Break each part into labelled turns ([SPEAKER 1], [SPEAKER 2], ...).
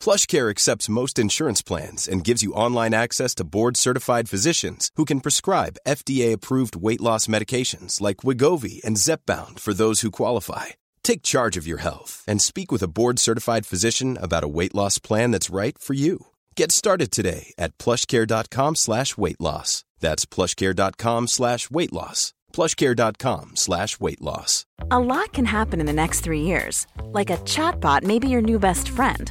[SPEAKER 1] PlushCare accepts most insurance plans and gives you online access to board-certified physicians who can prescribe FDA-approved weight loss medications like Wigovi and Zepbound for those who qualify. Take charge of your health and speak with a board-certified physician about a weight loss plan that's right for you. Get started today at plushcare.com slash weight loss. That's plushcare.com slash weight loss. plushcare.com slash weight loss.
[SPEAKER 2] A lot can happen in the next three years. Like a chatbot may be your new best friend.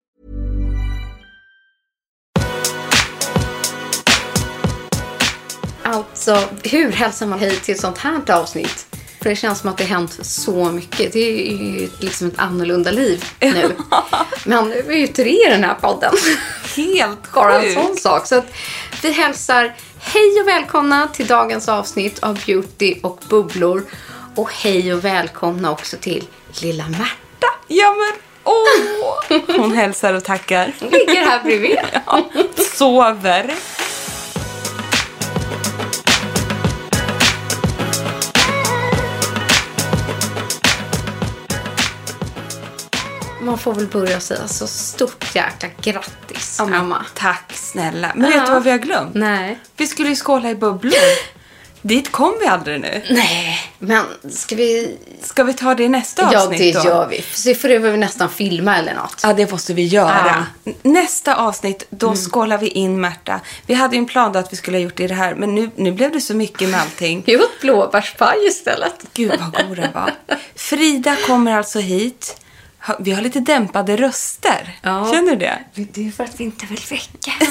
[SPEAKER 3] Alltså, hur hälsar man hej till ett sånt här avsnitt? För det känns som att det har hänt så mycket. Det är ju liksom ett annorlunda liv nu. Men nu är vi ju tre i den här podden.
[SPEAKER 4] Helt
[SPEAKER 3] Bara en
[SPEAKER 4] sjukt.
[SPEAKER 3] sån sak. Så att vi hälsar hej och välkomna till dagens avsnitt av Beauty och bubblor. Och hej och välkomna också till lilla Märta.
[SPEAKER 4] Ja men åh! Hon hälsar och tackar.
[SPEAKER 3] Hon ligger här bredvid.
[SPEAKER 4] Sover.
[SPEAKER 3] Man får väl börja säga så stort jäkla grattis, mamma.
[SPEAKER 4] Tack snälla. Men
[SPEAKER 3] Ja.
[SPEAKER 4] vet du vad vi har glömt?
[SPEAKER 3] Nej.
[SPEAKER 4] Vi skulle ju skåla i bubblor. Dit kom vi aldrig nu.
[SPEAKER 3] Nej, men ska vi
[SPEAKER 4] Ska vi ta det i nästa
[SPEAKER 3] Ja,
[SPEAKER 4] avsnitt
[SPEAKER 3] det
[SPEAKER 4] då?
[SPEAKER 3] gör vi. Så får vi nästan filma eller något.
[SPEAKER 4] Ja, det måste vi göra.
[SPEAKER 3] Ja. Mm.
[SPEAKER 4] Nästa avsnitt, då skålar vi in Märta. Vi hade ju en plan då att vi skulle ha gjort det här, men nu, nu blev det så mycket med allting.
[SPEAKER 3] Vi åt blåbärspaj istället.
[SPEAKER 4] Gud vad god den var. Frida kommer alltså hit. Ha- Vi har lite dämpade röster.
[SPEAKER 3] Ja.
[SPEAKER 4] Känner du det?
[SPEAKER 3] Det är för att vi inte vill väcka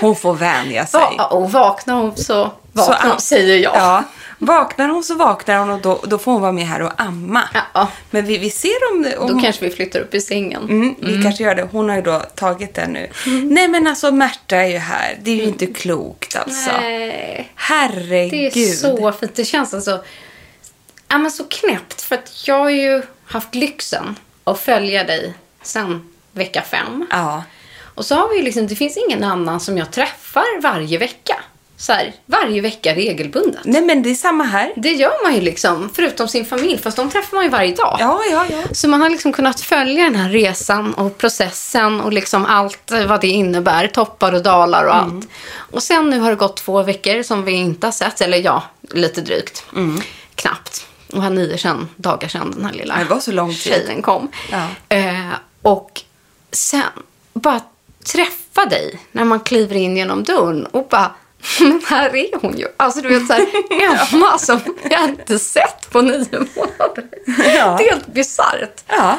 [SPEAKER 4] Hon får vänja sig.
[SPEAKER 3] Va- och vaknar hon så vaknar hon,
[SPEAKER 4] am-
[SPEAKER 3] säger jag.
[SPEAKER 4] Ja, vaknar hon så vaknar hon och då, då får hon vara med här och amma.
[SPEAKER 3] Ja.
[SPEAKER 4] Men vi, vi ser om... om
[SPEAKER 3] Då kanske vi flyttar upp i sängen.
[SPEAKER 4] Mm, vi kanske gör det. Hon har ju då tagit den nu.
[SPEAKER 3] Mm.
[SPEAKER 4] Nej men alltså Märta är ju här. Det är ju inte klokt alltså.
[SPEAKER 3] Nej,
[SPEAKER 4] Herregud.
[SPEAKER 3] Eh, det är så fint. Det känns alltså ja, men så knäppt för att jag har ju haft lyxen att följa dig sen vecka fem.
[SPEAKER 4] Ja.
[SPEAKER 3] Och så har vi ju liksom, det finns ingen annan som jag träffar varje vecka. Så här, varje vecka regelbundet.
[SPEAKER 4] Nej men det är samma här.
[SPEAKER 3] Det gör man ju liksom, förutom sin familj. Fast de träffar man ju varje dag.
[SPEAKER 4] Ja, ja, ja.
[SPEAKER 3] Så man har liksom kunnat följa den här resan och processen och liksom allt vad det innebär. Toppar och dalar och
[SPEAKER 4] Mm.
[SPEAKER 3] allt. Och sen nu har det gått två veckor som vi inte har sett. Eller ja, lite drygt.
[SPEAKER 4] Mm.
[SPEAKER 3] Knappt. Och här nio sedan, dagar sedan den här lilla
[SPEAKER 4] Det var så lång tid.
[SPEAKER 3] tjejen kom.
[SPEAKER 4] Ja.
[SPEAKER 3] Eh, och sen bara träffa dig när man kliver in genom dörren och bara men här är hon ju. Alltså du vet så här, Emma som jag inte sett på nio månader.
[SPEAKER 4] Ja.
[SPEAKER 3] Det är helt bisarrt.
[SPEAKER 4] Ja.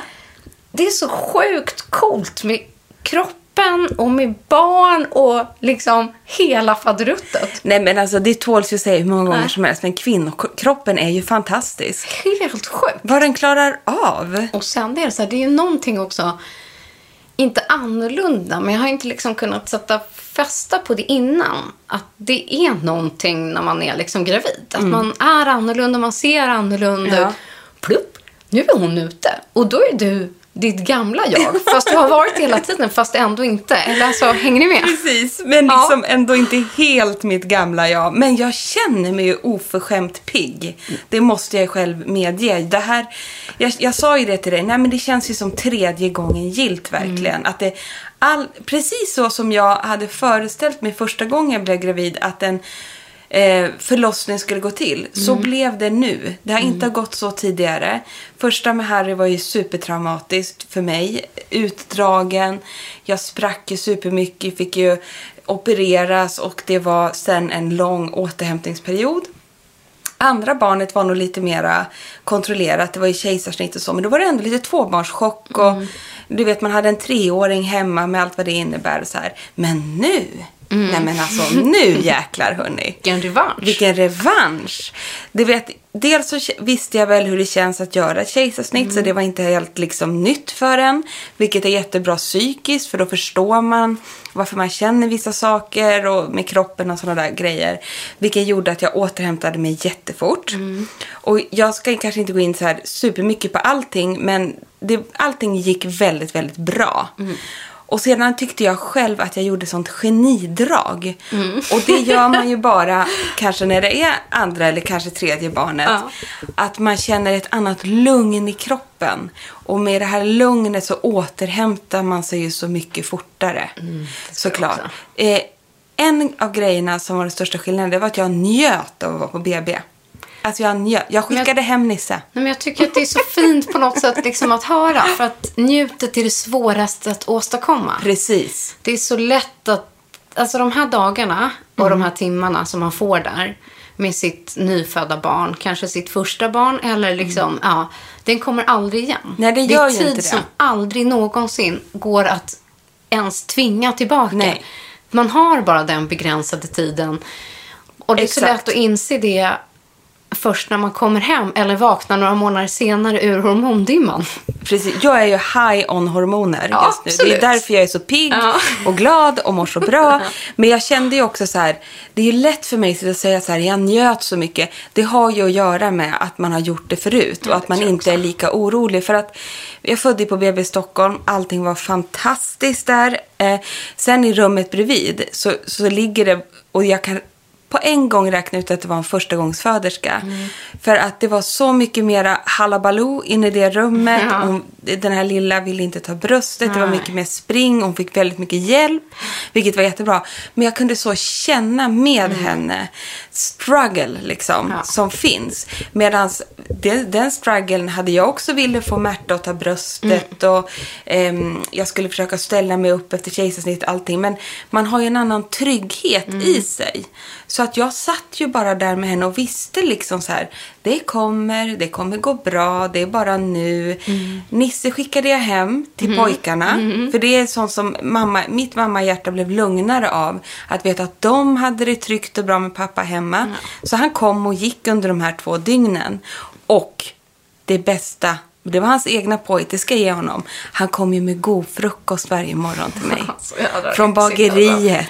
[SPEAKER 3] Det är så sjukt coolt med kroppen och med barn och liksom hela faderuttet.
[SPEAKER 4] Nej men alltså det tåls ju att säga hur många gånger
[SPEAKER 3] Nej.
[SPEAKER 4] som helst. Men kvinnokroppen är ju fantastisk.
[SPEAKER 3] Helt sjukt.
[SPEAKER 4] Vad den klarar av.
[SPEAKER 3] Och sen är det så här, det är ju någonting också, inte annorlunda, men jag har inte liksom kunnat sätta fästa på det innan. Att det är någonting när man är liksom gravid. Att man är annorlunda, man ser annorlunda
[SPEAKER 4] Ja.
[SPEAKER 3] ut. Plupp, nu är hon ute. Och då är du ditt gamla jag. Fast du har varit hela tiden, fast ändå inte. Eller alltså, hänger ni med?
[SPEAKER 4] Precis, men
[SPEAKER 3] Ja.
[SPEAKER 4] liksom ändå inte helt mitt gamla jag. Men jag känner mig ju oförskämt pigg. Det måste jag själv medge. Det här, jag, jag sa ju det till dig, nej men det känns ju som tredje gången gilt verkligen. Att det, all, precis så som jag hade föreställt mig första gången jag blev gravid, att en eh, förlossning skulle gå till. Så blev det nu. Det har inte gått så tidigare. Första med Harry var ju supertraumatiskt för mig. Utdragen. Jag sprack ju supermycket. Fick ju opereras och det var sen en lång återhämtningsperiod. Andra barnet var nog lite mera kontrollerat. Det var ju kejsarsnitt och så. Men då var det ändå lite tvåbarnschock och Du vet, man hade en treåring hemma med allt vad det innebär och så här. Men nu! Nej men alltså nu jäklar hörni.
[SPEAKER 3] Vilken revansch.
[SPEAKER 4] Vilken revansch. Du vet, dels så k- visste jag väl hur det känns att göra ett kejsarsnitt så det var inte helt liksom nytt för en. Vilket är jättebra psykiskt för då förstår man varför man känner vissa saker och med kroppen och sådana där grejer. Vilket gjorde att jag återhämtade mig jättefort. Och jag ska kanske inte gå in så här supermycket på allting men det, allting gick väldigt, väldigt bra. Och sedan tyckte jag själv att jag gjorde sånt genidrag.
[SPEAKER 3] Mm.
[SPEAKER 4] Och det gör man ju bara kanske när det är andra eller kanske tredje barnet.
[SPEAKER 3] Ja.
[SPEAKER 4] Att man känner ett annat lugn i kroppen. Och med det här lugnet så återhämtar man sig ju så mycket fortare.
[SPEAKER 3] Mm,
[SPEAKER 4] Såklart.
[SPEAKER 3] också.
[SPEAKER 4] Eh, en av grejerna som var den största skillnaden det var att jag njöt av att vara på BB. Alltså jag njöt. Jag skickade hem Nisse.
[SPEAKER 3] Nej, men jag tycker att det är så fint på något sätt liksom att höra. För att njutet är det svåraste att åstadkomma.
[SPEAKER 4] Precis.
[SPEAKER 3] Det är så lätt att... Alltså de här dagarna och
[SPEAKER 4] Mm.
[SPEAKER 3] de här timmarna som man får där med sitt nyfödda barn, kanske sitt första barn eller liksom, ja, den kommer aldrig igen.
[SPEAKER 4] Mm. Nej, det gör
[SPEAKER 3] är
[SPEAKER 4] ju
[SPEAKER 3] tid
[SPEAKER 4] inte det.
[SPEAKER 3] som aldrig någonsin går att ens tvinga tillbaka.
[SPEAKER 4] Nej.
[SPEAKER 3] Man har bara den begränsade tiden. Och det är så
[SPEAKER 4] Exakt.
[SPEAKER 3] lätt att inse det först när man kommer hem eller vaknar några månader senare ur hormondimman.
[SPEAKER 4] Precis. Jag är ju high on hormoner
[SPEAKER 3] Ja,
[SPEAKER 4] just nu.
[SPEAKER 3] absolut.
[SPEAKER 4] Det är därför jag är så pigg
[SPEAKER 3] Ja.
[SPEAKER 4] och glad och mår så bra. Men jag kände ju också så här, det är ju lätt för mig att säga så här, jag njöt så mycket. Det har ju att göra med att man har gjort det förut och att man inte är lika orolig. För att jag födde ju på BB i Stockholm, allting var fantastiskt där. Eh, sen i rummet bredvid så, så ligger det, och jag kan på en gång räkna ut att det var en förstagångsföderska.
[SPEAKER 3] Mm.
[SPEAKER 4] För att det var så mycket mera halabaloo inne i det rummet.
[SPEAKER 3] Ja.
[SPEAKER 4] Hon, den här lilla ville inte ta bröstet. Det var
[SPEAKER 3] Nej.
[SPEAKER 4] mycket mer spring. Hon fick väldigt mycket hjälp. Vilket var jättebra. Men jag kunde så känna med henne struggle liksom.
[SPEAKER 3] Mm. Ja.
[SPEAKER 4] Som finns. Medan den strugglen hade jag också ville få Märta att ta bröstet.
[SPEAKER 3] Mm.
[SPEAKER 4] Och, ehm, jag skulle försöka ställa mig upp efter kejsarsnitt och allting. Men man har ju en annan trygghet i sig. Så att jag satt ju bara där med henne och visste liksom så här. Det kommer, det kommer gå bra, det är bara nu. Nisse skickade jag hem till pojkarna. För det är sånt som mamma, mitt mammahjärta blev lugnare av. Att veta att de hade det tryggt och bra med pappa hemma. Så han kom och gick under de här två dygnen. Och det bästa, det var hans egna pojk, det ska jag ge honom. Han kom ju med god frukost varje morgon till mig.
[SPEAKER 3] Så jävla
[SPEAKER 4] Från
[SPEAKER 3] lyxigt alltså.
[SPEAKER 4] bageriet.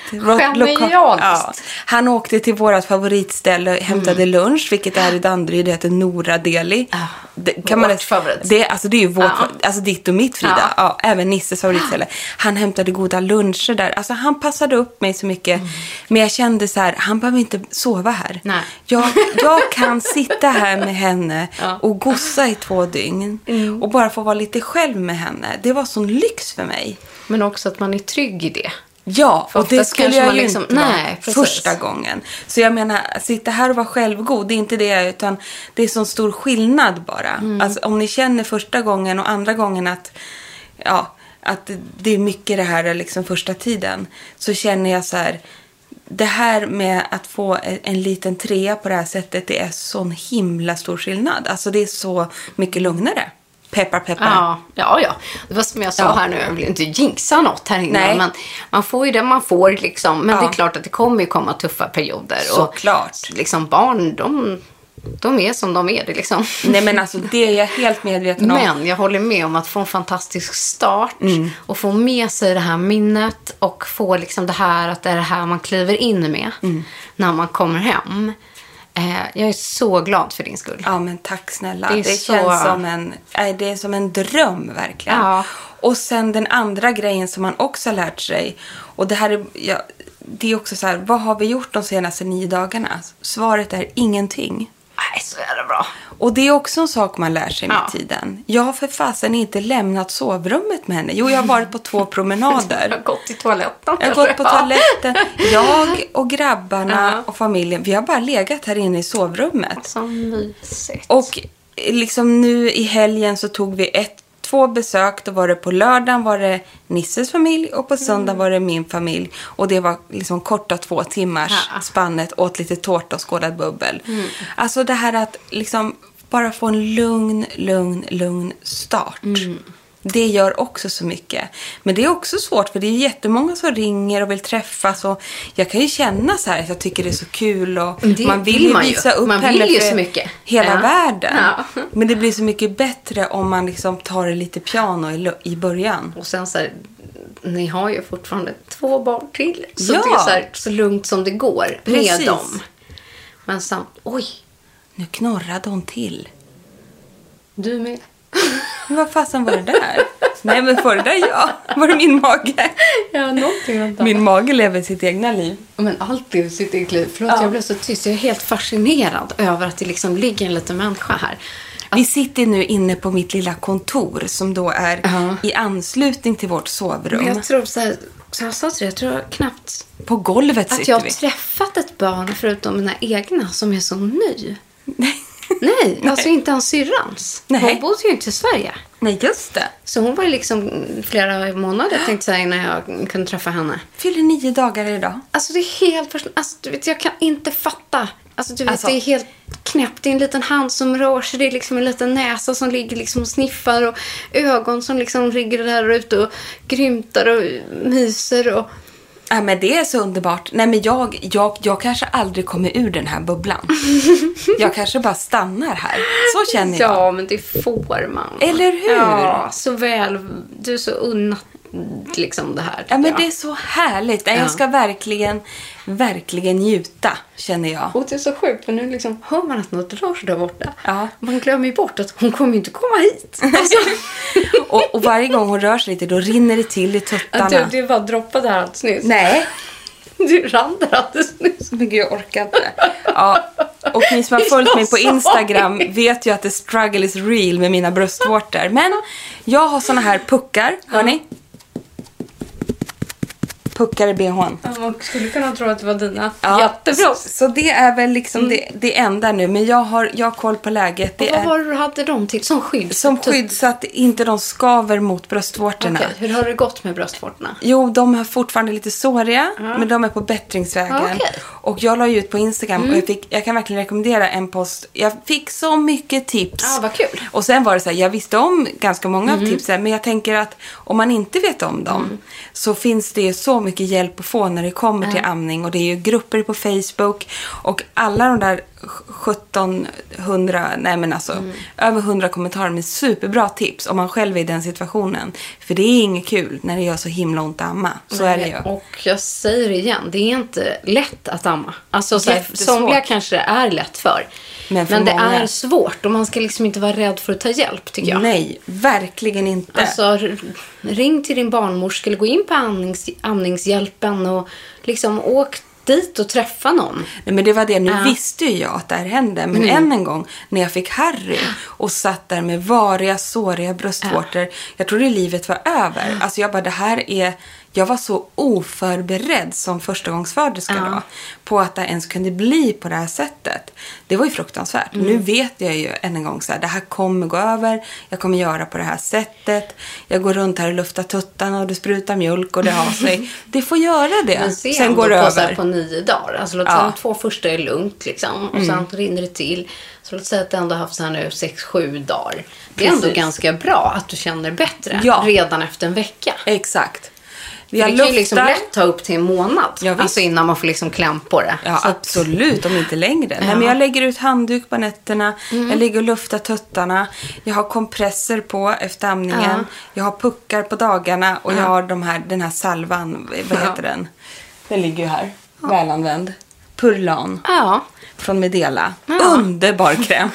[SPEAKER 3] Genialt.
[SPEAKER 4] Ja. Han åkte till vårt favoritställe och
[SPEAKER 3] Mm.
[SPEAKER 4] hämtade lunch, vilket är i Danderyd. Det heter Nora Deli. Det,
[SPEAKER 3] Ah, vårt favorit.
[SPEAKER 4] Det, alltså, det är ju vårt,
[SPEAKER 3] Ja.
[SPEAKER 4] alltså ditt och mitt Frida.
[SPEAKER 3] Ja.
[SPEAKER 4] Ja. även Nisses favoritställe. Han hämtade goda luncher där. Alltså, han passade upp mig så mycket. Men jag kände så här, han behöver inte sova här.
[SPEAKER 3] Mm. Nej.
[SPEAKER 4] Jag, jag kan sitta här med henne
[SPEAKER 3] Ja. Mm.
[SPEAKER 4] och gossa i två dygn. Och bara få vara lite själv med henne. Det var sån lyx för mig.
[SPEAKER 3] Men också att man är trygg i det.
[SPEAKER 4] Ja,
[SPEAKER 3] För
[SPEAKER 4] och det
[SPEAKER 3] oftast
[SPEAKER 4] skulle
[SPEAKER 3] kanske
[SPEAKER 4] jag
[SPEAKER 3] man
[SPEAKER 4] ju
[SPEAKER 3] liksom-
[SPEAKER 4] inte vara
[SPEAKER 3] nej, precis.
[SPEAKER 4] första gången. Så jag menar, att sitta här och vara självgod, det är inte det, utan det är sån stor skillnad bara.
[SPEAKER 3] Mm.
[SPEAKER 4] Alltså, om ni känner första gången och andra gången att, ja, att det är mycket det här liksom första tiden, så känner jag så här, det här med att få en- en liten trea på det här sättet, det är sån himla stor skillnad. Alltså det är så mycket lugnare. Peppar, peppar.
[SPEAKER 3] Ja, ja, ja. Det var som jag sa
[SPEAKER 4] Ja.
[SPEAKER 3] här nu, jag vill inte jinxa något här innan.
[SPEAKER 4] Nej.
[SPEAKER 3] Men man får ju det man får liksom. Men det
[SPEAKER 4] Ja.
[SPEAKER 3] är klart att det kommer ju komma tuffa perioder.
[SPEAKER 4] Såklart.
[SPEAKER 3] Och liksom barn, de, de är som de är. Det liksom.
[SPEAKER 4] Nej men alltså det är jag helt medveten om.
[SPEAKER 3] Men jag håller med om att få en fantastisk start
[SPEAKER 4] Mm.
[SPEAKER 3] och få med sig det här minnet och få liksom det här att det är det här man kliver in med
[SPEAKER 4] Mm.
[SPEAKER 3] när man kommer hem. Eh, jag är så glad för din skull.
[SPEAKER 4] Ja, men tack snälla.
[SPEAKER 3] Det
[SPEAKER 4] Det,
[SPEAKER 3] är så-
[SPEAKER 4] känns som en, nej, det är som en dröm verkligen.
[SPEAKER 3] Ja.
[SPEAKER 4] Och sen den andra grejen som man också har lärt sig. Och det här är, ja, det är också så här, vad har vi gjort de senaste nio dagarna? Svaret är ingenting.
[SPEAKER 3] Nej, så är det bra.
[SPEAKER 4] Och det är också en sak man lär sig med
[SPEAKER 3] Ja.
[SPEAKER 4] tiden. Jag har för fasen inte lämnat sovrummet med henne. Jo, jag har varit på två
[SPEAKER 3] Jag
[SPEAKER 4] promenader.
[SPEAKER 3] har gått till toaletten.
[SPEAKER 4] Jag har gått på
[SPEAKER 3] Ja.
[SPEAKER 4] toaletten. Jag och grabbarna
[SPEAKER 3] Ja.
[SPEAKER 4] och familjen, vi har bara legat här inne i sovrummet.
[SPEAKER 3] Så mysigt.
[SPEAKER 4] Och liksom nu i helgen så tog vi ett, två besök. Då var det på lördagen var det Nisses familj och på söndag var det min familj. Och det var liksom korta två timmars
[SPEAKER 3] Ja.
[SPEAKER 4] spannet. Åt lite tårta och skålad bubbel. Alltså det här att liksom bara få en lugn, lugn, lugn start. Det gör också så mycket. Men det är också svårt för det är jättemånga som ringer och vill träffas. Och jag kan ju känna så här att jag tycker det är så kul och
[SPEAKER 3] Det
[SPEAKER 4] man vill,
[SPEAKER 3] vill
[SPEAKER 4] ju
[SPEAKER 3] man ju.
[SPEAKER 4] visa upp
[SPEAKER 3] Man vill
[SPEAKER 4] henne
[SPEAKER 3] ju
[SPEAKER 4] för
[SPEAKER 3] så mycket.
[SPEAKER 4] hela
[SPEAKER 3] Ja.
[SPEAKER 4] världen.
[SPEAKER 3] Ja.
[SPEAKER 4] Men det blir så mycket bättre om man liksom tar det lite piano i, lo- i början.
[SPEAKER 3] Och sen så här, ni har ju fortfarande två barn till. Så
[SPEAKER 4] Ja.
[SPEAKER 3] det är så, här, så lugnt som det går med
[SPEAKER 4] Precis.
[SPEAKER 3] dem. Men samt, oj,
[SPEAKER 4] Nu knorrade hon till.
[SPEAKER 3] du med.
[SPEAKER 4] Men Vad fasen var det där? Nej men var det där jag? Var det min mage?
[SPEAKER 3] Ja, någonting vänta.
[SPEAKER 4] Min mage lever sitt egna liv.
[SPEAKER 3] Men allt i sitt eget liv. Förlåt, jag blev så tyst. Jag är helt fascinerad över att det liksom ligger en liten människa här. Att,
[SPEAKER 4] Vi sitter nu inne på mitt lilla kontor som då är
[SPEAKER 3] Ja.
[SPEAKER 4] i anslutning till vårt sovrum.
[SPEAKER 3] jag tror så här, så jag sa till dig, jag tror knappt
[SPEAKER 4] På golvet
[SPEAKER 3] att
[SPEAKER 4] sitter
[SPEAKER 3] jag har
[SPEAKER 4] vi.
[SPEAKER 3] träffat ett barn förutom mina egna som är så ny. Nej, alltså inte ens syrrans.
[SPEAKER 4] Nej.
[SPEAKER 3] Hon bodde ju inte i Sverige.
[SPEAKER 4] Nej, just det.
[SPEAKER 3] Så hon var ju liksom flera månader tänkte jag säga, innan jag kunde träffa henne.
[SPEAKER 4] Fyller nio dagar idag.
[SPEAKER 3] Alltså det är helt person- alltså, du vet, jag kan inte fatta. Alltså du vet,
[SPEAKER 4] Alltså-
[SPEAKER 3] det är helt knäppt. Det är en liten hand som rör sig. Det är liksom en liten näsa som ligger liksom och sniffar och ögon som liksom ligger där ute och grymtar och myser och...
[SPEAKER 4] Ja, men det är så underbart. Nej, men jag, jag, jag kanske aldrig kommer ur den här bubblan. jag kanske bara stannar här. Så känner jag.
[SPEAKER 3] Ja, men det får man.
[SPEAKER 4] Eller hur?
[SPEAKER 3] Ja, så väl. Du är så unnat liksom det här.
[SPEAKER 4] Ja, men
[SPEAKER 3] tycker
[SPEAKER 4] det
[SPEAKER 3] jag.
[SPEAKER 4] är så härligt. Nej,
[SPEAKER 3] Ja.
[SPEAKER 4] Jag ska verkligen, verkligen njuta, känner jag.
[SPEAKER 3] Och det är så sjukt för nu liksom hör man att något rör sig där borta.
[SPEAKER 4] Ja.
[SPEAKER 3] Man glömmer ju bort att hon kommer ju inte komma hit. Alltså,
[SPEAKER 4] och, och varje gång hon rör sig lite, då rinner det till i tuttarna.
[SPEAKER 3] att du, du bara droppade här alldeles nyss.
[SPEAKER 4] Nej.
[SPEAKER 3] Du rann där alldeles nyss.
[SPEAKER 4] Men gud, jag orkar inte. Ja. Och ni som har följt mig på Instagram vet ju att the struggle is real med mina bröstvårtor. Men jag har såna här puckar, hör ni? Puckar i bhn.
[SPEAKER 3] Ja, Man skulle kunna tro att det var dina.
[SPEAKER 4] Ja,
[SPEAKER 3] Jättebra. Mm.
[SPEAKER 4] Så, så det är väl liksom det, det enda nu. Men jag har, jag har koll på läget. Det
[SPEAKER 3] Och vad
[SPEAKER 4] är
[SPEAKER 3] var det du hade dem till? Som skydd?
[SPEAKER 4] som
[SPEAKER 3] Typ-
[SPEAKER 4] skydd så att inte de skaver mot bröstvårtorna.
[SPEAKER 3] Okej, hur har det gått med bröstvårtorna?
[SPEAKER 4] Jo, de är fortfarande lite såriga, men de är på bättringsvägen.
[SPEAKER 3] Ja, okej. Mm.
[SPEAKER 4] Och jag la ju ut på Instagram och jag, fick, jag kan verkligen rekommendera en post. Jag fick så mycket tips.
[SPEAKER 3] Ja, vad kul.
[SPEAKER 4] Och sen var det så här, jag visste om ganska många
[SPEAKER 3] Mm.
[SPEAKER 4] av tipsen, men jag tänker att om man inte vet om dem så finns det ju så mycket hjälp att få när det kommer till amning. Och det är ju grupper på Facebook och alla de där 1700, nej men alltså
[SPEAKER 3] Mm.
[SPEAKER 4] över 100 kommentarer med superbra tips om man själv är i den situationen. För det är inget kul när det gör så himla ont att amma. Så är det ju.
[SPEAKER 3] Och jag säger det igen, det är inte lätt att amma. Alltså, så här,
[SPEAKER 4] Jättesvårt.
[SPEAKER 3] somliga kanske det är lätt för.
[SPEAKER 4] Men för
[SPEAKER 3] det
[SPEAKER 4] många-
[SPEAKER 3] är svårt och man ska liksom inte vara rädd för att ta hjälp tycker jag.
[SPEAKER 4] Nej, verkligen inte.
[SPEAKER 3] Alltså, r- ring till din barnmorska eller gå in på amnings, amningshjälpen och liksom åk dit och träffa någon.
[SPEAKER 4] Nej, men det var det. Nu
[SPEAKER 3] Ja.
[SPEAKER 4] visste ju jag att det här hände. Men än en gång, när jag fick Harry och satt där med variga, såriga bröstvårtor. Jag trodde livet var över. Alltså jag bara, det här är... Jag var så oförberedd som förstagångsföderska då. På att det ens kunde bli på det här sättet. Det var ju fruktansvärt. Nu vet jag ju än en gång så här, det här kommer gå över. Jag kommer göra på det här sättet. Jag går runt här och luftar tuttarna och det sprutar mjölk och det har sig. Det får göra det.
[SPEAKER 3] Men se
[SPEAKER 4] Sen går det
[SPEAKER 3] på, så här,
[SPEAKER 4] över.
[SPEAKER 3] på nio dagar. Alltså, låt
[SPEAKER 4] Ja. Mm.
[SPEAKER 3] säga de två första är lugnt liksom, och sen rinner det till. Så låt säga att du ändå har haft så här nu sex, sju dagar. Det är
[SPEAKER 4] Precis.
[SPEAKER 3] ändå ganska bra att du känner bättre
[SPEAKER 4] Ja.
[SPEAKER 3] redan efter en vecka.
[SPEAKER 4] Exakt.
[SPEAKER 3] För
[SPEAKER 4] Jag
[SPEAKER 3] det kan
[SPEAKER 4] luftar.
[SPEAKER 3] ju liksom lätt ta upp till en månad.
[SPEAKER 4] Ja, visst.
[SPEAKER 3] alltså innan man får liksom kläm på det.
[SPEAKER 4] Ja,
[SPEAKER 3] Så att-
[SPEAKER 4] absolut. Om inte längre. Nej, men jag lägger ut handduk på nätterna.
[SPEAKER 3] Mm.
[SPEAKER 4] Jag ligger och luftar tuttarna. Jag har kompresser på efter amningen.
[SPEAKER 3] Ja.
[SPEAKER 4] Jag har puckar på dagarna. Och jag har de här, den här salvan. Vad
[SPEAKER 3] Ja.
[SPEAKER 4] heter den? Den ligger ju här. Välanvänd. Purlan
[SPEAKER 3] ja.
[SPEAKER 4] från Medela. Underbar kräm.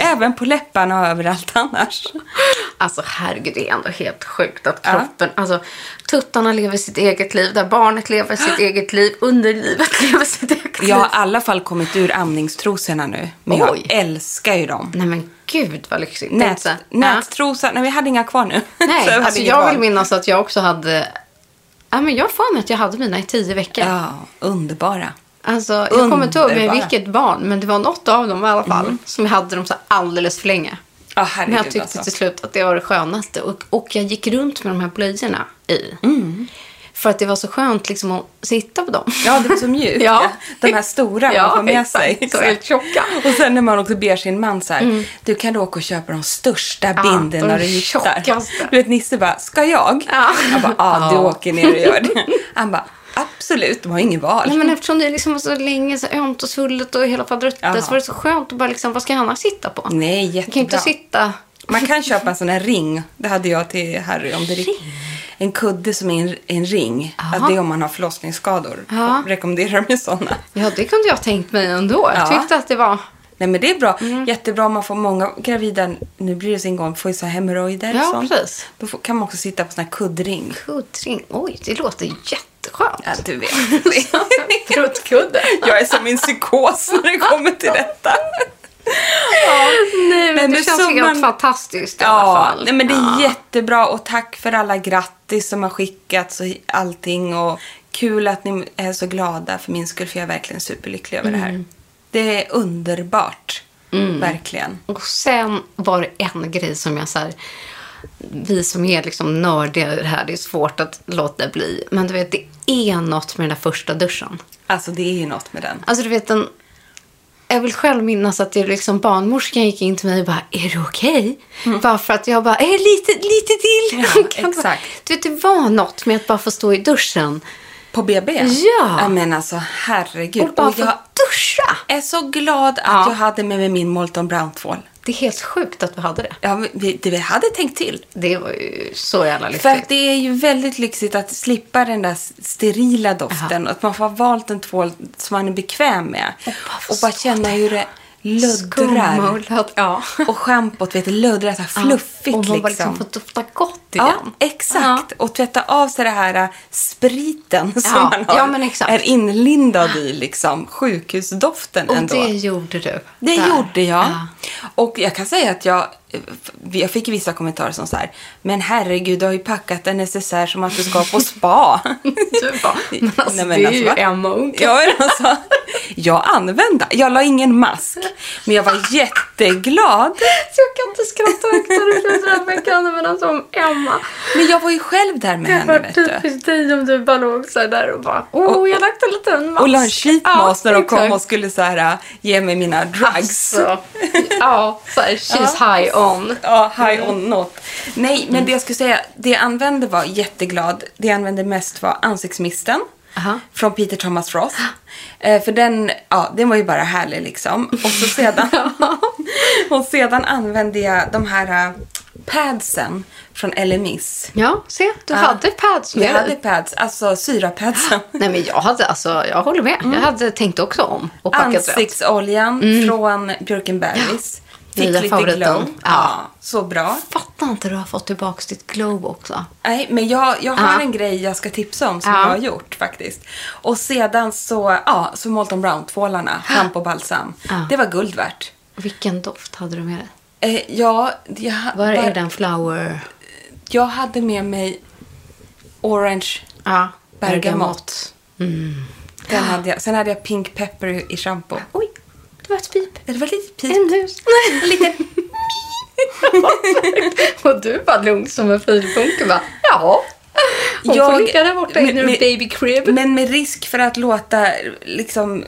[SPEAKER 4] Även på läpparna och överallt annars.
[SPEAKER 3] Alltså herregud, det är ändå helt sjukt att kroppen... Alltså, tuttarna lever sitt eget liv, där barnet lever sitt eget liv, underlivet lever sitt eget
[SPEAKER 4] Jag har i
[SPEAKER 3] liv.
[SPEAKER 4] alla fall kommit ur amningstrosorna nu. Men jag
[SPEAKER 3] Oj.
[SPEAKER 4] älskar ju dem.
[SPEAKER 3] Nej men gud vad lyxigt. Tänk
[SPEAKER 4] Nät,
[SPEAKER 3] så här,
[SPEAKER 4] nättrosa. Nej, vi hade inga kvar nu.
[SPEAKER 3] ja.
[SPEAKER 4] Så
[SPEAKER 3] Nej,
[SPEAKER 4] hade
[SPEAKER 3] alltså
[SPEAKER 4] inget
[SPEAKER 3] jag
[SPEAKER 4] val.
[SPEAKER 3] vill minnas att jag också hade... Ja, men jag har för mig att jag hade mina i tio veckor.
[SPEAKER 4] Ja, underbara.
[SPEAKER 3] Alltså, jag kommer inte ihåg med
[SPEAKER 4] Underbara.
[SPEAKER 3] vilket barn, men det var något av dem i alla fall som jag hade dem så här alldeles för länge.
[SPEAKER 4] Ja,
[SPEAKER 3] Men
[SPEAKER 4] herregud
[SPEAKER 3] jag tyckte
[SPEAKER 4] alltså.
[SPEAKER 3] till slut att det var det skönaste. Och, och jag gick runt med de här blöjorna i. För att det var så skönt liksom, att sitta på dem.
[SPEAKER 4] Mm. Ja, det var så mjukt.
[SPEAKER 3] Ja.
[SPEAKER 4] De här stora man
[SPEAKER 3] Ja,
[SPEAKER 4] får med
[SPEAKER 3] exakt.
[SPEAKER 4] sig.
[SPEAKER 3] De är tjocka.
[SPEAKER 4] Och sen när man också ber sin man så här, du kan då åka och köpa de största
[SPEAKER 3] Ja, Mm.
[SPEAKER 4] bindorna
[SPEAKER 3] Ah, de
[SPEAKER 4] du hittar.
[SPEAKER 3] tjockaste.
[SPEAKER 4] Du vet, Nisse bara, ska jag?
[SPEAKER 3] Ja.
[SPEAKER 4] Jag bara, ja, du
[SPEAKER 3] Ja.
[SPEAKER 4] åker ner och gör det. Han bara, absolut, de har ingen val.
[SPEAKER 3] Nej, men eftersom det liksom var så länge, så ömt och svullet och hela
[SPEAKER 4] Ja.
[SPEAKER 3] faderuttan så var det så skönt att bara liksom, vad ska Hanna sitta på?
[SPEAKER 4] Nej,
[SPEAKER 3] Jag kan ju inte
[SPEAKER 4] jättebra.
[SPEAKER 3] sitta...
[SPEAKER 4] Man kan köpa en sån här ring. Det hade jag till Harry. Om det ring. En kudde som är en, en ring.
[SPEAKER 3] Jaha.
[SPEAKER 4] Att det är om man har förlossningsskador.
[SPEAKER 3] Ja.
[SPEAKER 4] Jag Rekommenderar de sådana.
[SPEAKER 3] Ja, det kunde jag tänkt mig ändå. Jag
[SPEAKER 4] Ja.
[SPEAKER 3] tyckte att det var...
[SPEAKER 4] Nej men det är bra.
[SPEAKER 3] Mm.
[SPEAKER 4] Jättebra om man får många gravida, nu blir det sin gång, får ju så här hemorrojder och
[SPEAKER 3] Ja,
[SPEAKER 4] sånt.
[SPEAKER 3] precis.
[SPEAKER 4] Då får, kan man också sitta på sån här kuddring.
[SPEAKER 3] Kuddring. Oj, det låter jätteskönt.
[SPEAKER 4] Ja, du vet.
[SPEAKER 3] Pruttkudde.
[SPEAKER 4] Jag är som en psykos när det kommer till detta.
[SPEAKER 3] Nej, men,
[SPEAKER 4] men
[SPEAKER 3] det
[SPEAKER 4] med
[SPEAKER 3] känns
[SPEAKER 4] sommaren-
[SPEAKER 3] helt fantastiskt i alla
[SPEAKER 4] Ja,
[SPEAKER 3] fall.
[SPEAKER 4] nej, men det är jättebra och tack för alla grattis som har skickats och allting och kul att ni är så glada för min skull för jag är verkligen superlycklig över det
[SPEAKER 3] Mm.
[SPEAKER 4] här. Det är underbart, verkligen.
[SPEAKER 3] Och sen var det en grej som jag så här, vi som är liksom nördiga i det här, det är svårt att låta bli. Men du vet, det är något med den där första duschen.
[SPEAKER 4] Alltså det är ju något med den.
[SPEAKER 3] Alltså du vet, den, jag vill själv minnas att det är liksom barnmorskan gick in till mig och bara, är du okej? Bara för att jag bara, eh, lite, lite till.
[SPEAKER 4] Mm. Ja,
[SPEAKER 3] Hon kan
[SPEAKER 4] exakt.
[SPEAKER 3] Bara, du vet, det var något med att bara få stå i duschen
[SPEAKER 4] På BB?
[SPEAKER 3] Ja.
[SPEAKER 4] ja men alltså herregud.
[SPEAKER 3] och bara få
[SPEAKER 4] jag
[SPEAKER 3] duscha.
[SPEAKER 4] är så glad att
[SPEAKER 3] Ja.
[SPEAKER 4] jag hade med mig min Molton Brown-tvål.
[SPEAKER 3] Det är helt sjukt att du hade det.
[SPEAKER 4] Ja, men vi, det vi hade tänkt till.
[SPEAKER 3] Det var ju så jävla lyxigt.
[SPEAKER 4] För att det är ju väldigt lyxigt att slippa den där sterila doften. Att man får ha valt en tvål som man är bekväm med. Och
[SPEAKER 3] bara få
[SPEAKER 4] bara, känna hur det luddrar.
[SPEAKER 3] Skummulat, ja.
[SPEAKER 4] Och schampot, vet du, luddrar så här fluffigt
[SPEAKER 3] Och man bara
[SPEAKER 4] liksom.
[SPEAKER 3] liksom får dofta gott
[SPEAKER 4] Ja,
[SPEAKER 3] igen.
[SPEAKER 4] exakt. Och tvätta av sig det här äh, spriten som
[SPEAKER 3] Ja,
[SPEAKER 4] man har,
[SPEAKER 3] ja, men exakt.
[SPEAKER 4] är inlindad i, liksom sjukhusdoften
[SPEAKER 3] Och
[SPEAKER 4] ändå.
[SPEAKER 3] det gjorde du.
[SPEAKER 4] Det
[SPEAKER 3] där.
[SPEAKER 4] gjorde jag.
[SPEAKER 3] Ja.
[SPEAKER 4] Och jag kan säga att jag, jag fick vissa kommentarer som så här, men herregud, du har ju packat en necessär som att du ska på spa.
[SPEAKER 3] Du bara, men alltså,
[SPEAKER 4] Nej, men
[SPEAKER 3] det är
[SPEAKER 4] alltså,
[SPEAKER 3] ju
[SPEAKER 4] va?
[SPEAKER 3] Emma Unckel.
[SPEAKER 4] Ja, men alltså, jag använde, jag la ingen mask, men jag var jätteglad.
[SPEAKER 3] Så jag kan inte skratta högt när du pratar men jag kan använda som Emma.
[SPEAKER 4] Men jag var ju själv där med
[SPEAKER 3] Det
[SPEAKER 4] henne,
[SPEAKER 3] var
[SPEAKER 4] vet du.
[SPEAKER 3] typiskt dig typ om du bara låg så här där och bara, åh,
[SPEAKER 4] Och-
[SPEAKER 3] jag har lagt en liten mask.
[SPEAKER 4] Och la en sheet
[SPEAKER 3] Ja,
[SPEAKER 4] mask när de kom
[SPEAKER 3] exakt. Alltså,
[SPEAKER 4] och skulle så här, ge mig mina drugs.
[SPEAKER 3] Så, ja, så här, she's high on. Mm.
[SPEAKER 4] Ja, high on not. Nej, men det jag skulle säga, det jag använde var jätteglad. Det jag använde mest var ansiktsmisten.
[SPEAKER 3] Aha. Ah.
[SPEAKER 4] Från Peter Thomas Roth. Eh, för den, ja, den var ju bara härlig liksom. Och så sedan, och sedan använde jag de här eh, padsen från LMIS.
[SPEAKER 3] Ja, se, du
[SPEAKER 4] Ja.
[SPEAKER 3] hade pads med
[SPEAKER 4] Jag hade
[SPEAKER 3] dig.
[SPEAKER 4] pads, alltså syrapadsen.
[SPEAKER 3] Nej, men jag hade, alltså, jag håller med.
[SPEAKER 4] Mm.
[SPEAKER 3] Jag hade tänkt också om och packat rätt.
[SPEAKER 4] Ansiktsoljan från Björkenbergs. Fick
[SPEAKER 3] Mm. Nya
[SPEAKER 4] lite
[SPEAKER 3] favoriten.
[SPEAKER 4] glow.
[SPEAKER 3] Ja.
[SPEAKER 4] Ja, så bra.
[SPEAKER 3] fattar inte hur du har fått tillbaka ditt glow också.
[SPEAKER 4] Nej, men jag, jag har
[SPEAKER 3] Ja.
[SPEAKER 4] en grej jag ska tipsa om som
[SPEAKER 3] Ja.
[SPEAKER 4] jag har gjort faktiskt. Och sedan så, ja, så Molton Brown-tvålarna, schampo och balsam.
[SPEAKER 3] Ja.
[SPEAKER 4] Det var guld värt.
[SPEAKER 3] Vilken doft hade du med dig?
[SPEAKER 4] Eh, ja, jag,
[SPEAKER 3] Var
[SPEAKER 4] var-
[SPEAKER 3] är den flower?
[SPEAKER 4] jag hade med mig orange,
[SPEAKER 3] Ja,
[SPEAKER 4] bergamott. Den hade jag, sen hade jag pink pepper i- i schampo.
[SPEAKER 3] Ah. Oj, det var ett pip.
[SPEAKER 4] Det var lite pip.
[SPEAKER 3] En hus. Liten... och du var lugn som en filbunke bara, ja. Hon får ligga där borta
[SPEAKER 4] men-
[SPEAKER 3] inne i
[SPEAKER 4] men-
[SPEAKER 3] baby crib.
[SPEAKER 4] Men med risk för att låta liksom...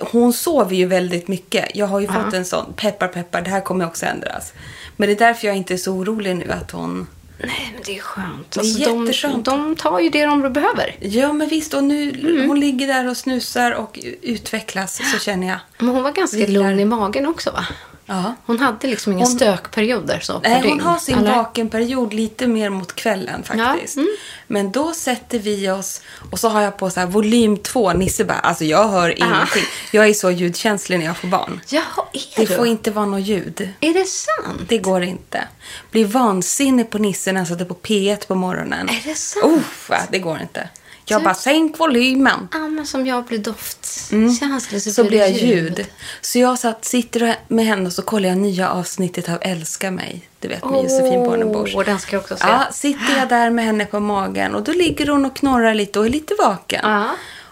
[SPEAKER 4] Hon sover ju väldigt mycket. Jag har ju fått en sån, peppar peppar, det här kommer också ändras. Men det är därför jag inte är så orolig nu att hon...
[SPEAKER 3] Nej, men det är skönt. de,
[SPEAKER 4] är Alltså, jätteskönt.
[SPEAKER 3] de tar ju det de behöver.
[SPEAKER 4] Ja men visst, och nu
[SPEAKER 3] Mm.
[SPEAKER 4] hon ligger där och snusar och utvecklas så känner jag.
[SPEAKER 3] Men hon var ganska lugn i magen också va?
[SPEAKER 4] Ja.
[SPEAKER 3] Hon hade liksom inga stökperioder så på
[SPEAKER 4] Nej, Eh, hon
[SPEAKER 3] dygn,
[SPEAKER 4] har sin
[SPEAKER 3] eller?
[SPEAKER 4] vakenperiod lite mer mot kvällen faktiskt.
[SPEAKER 3] Ja, mm.
[SPEAKER 4] Men då sätter vi oss och så har jag på så här volym 2, Nisse bara, alltså jag hör ingenting. Jag är så ljudkänslig när jag får barn.
[SPEAKER 3] Jaha, är
[SPEAKER 4] Det
[SPEAKER 3] du?
[SPEAKER 4] får inte vara något ljud.
[SPEAKER 3] Är det sant?
[SPEAKER 4] Det går inte. Blir vansinnig på Nisse när han satte på P1 på morgonen.
[SPEAKER 3] Är det sant?
[SPEAKER 4] Uff, va, det går inte. Jag bara, sänk volymen.
[SPEAKER 3] Ja, men som jag blir doftkänslig så,
[SPEAKER 4] Mm. Så blir
[SPEAKER 3] blir det
[SPEAKER 4] jag ljud. Så jag satt, sitter med henne och så kollar jag nya avsnittet av Älska mig. Du vet med Josefin Bornebusch.
[SPEAKER 3] Åh, den ska jag också se.
[SPEAKER 4] Ja, sitter jag där med henne på magen och då ligger hon och knorrar lite och är lite vaken.
[SPEAKER 3] Ja.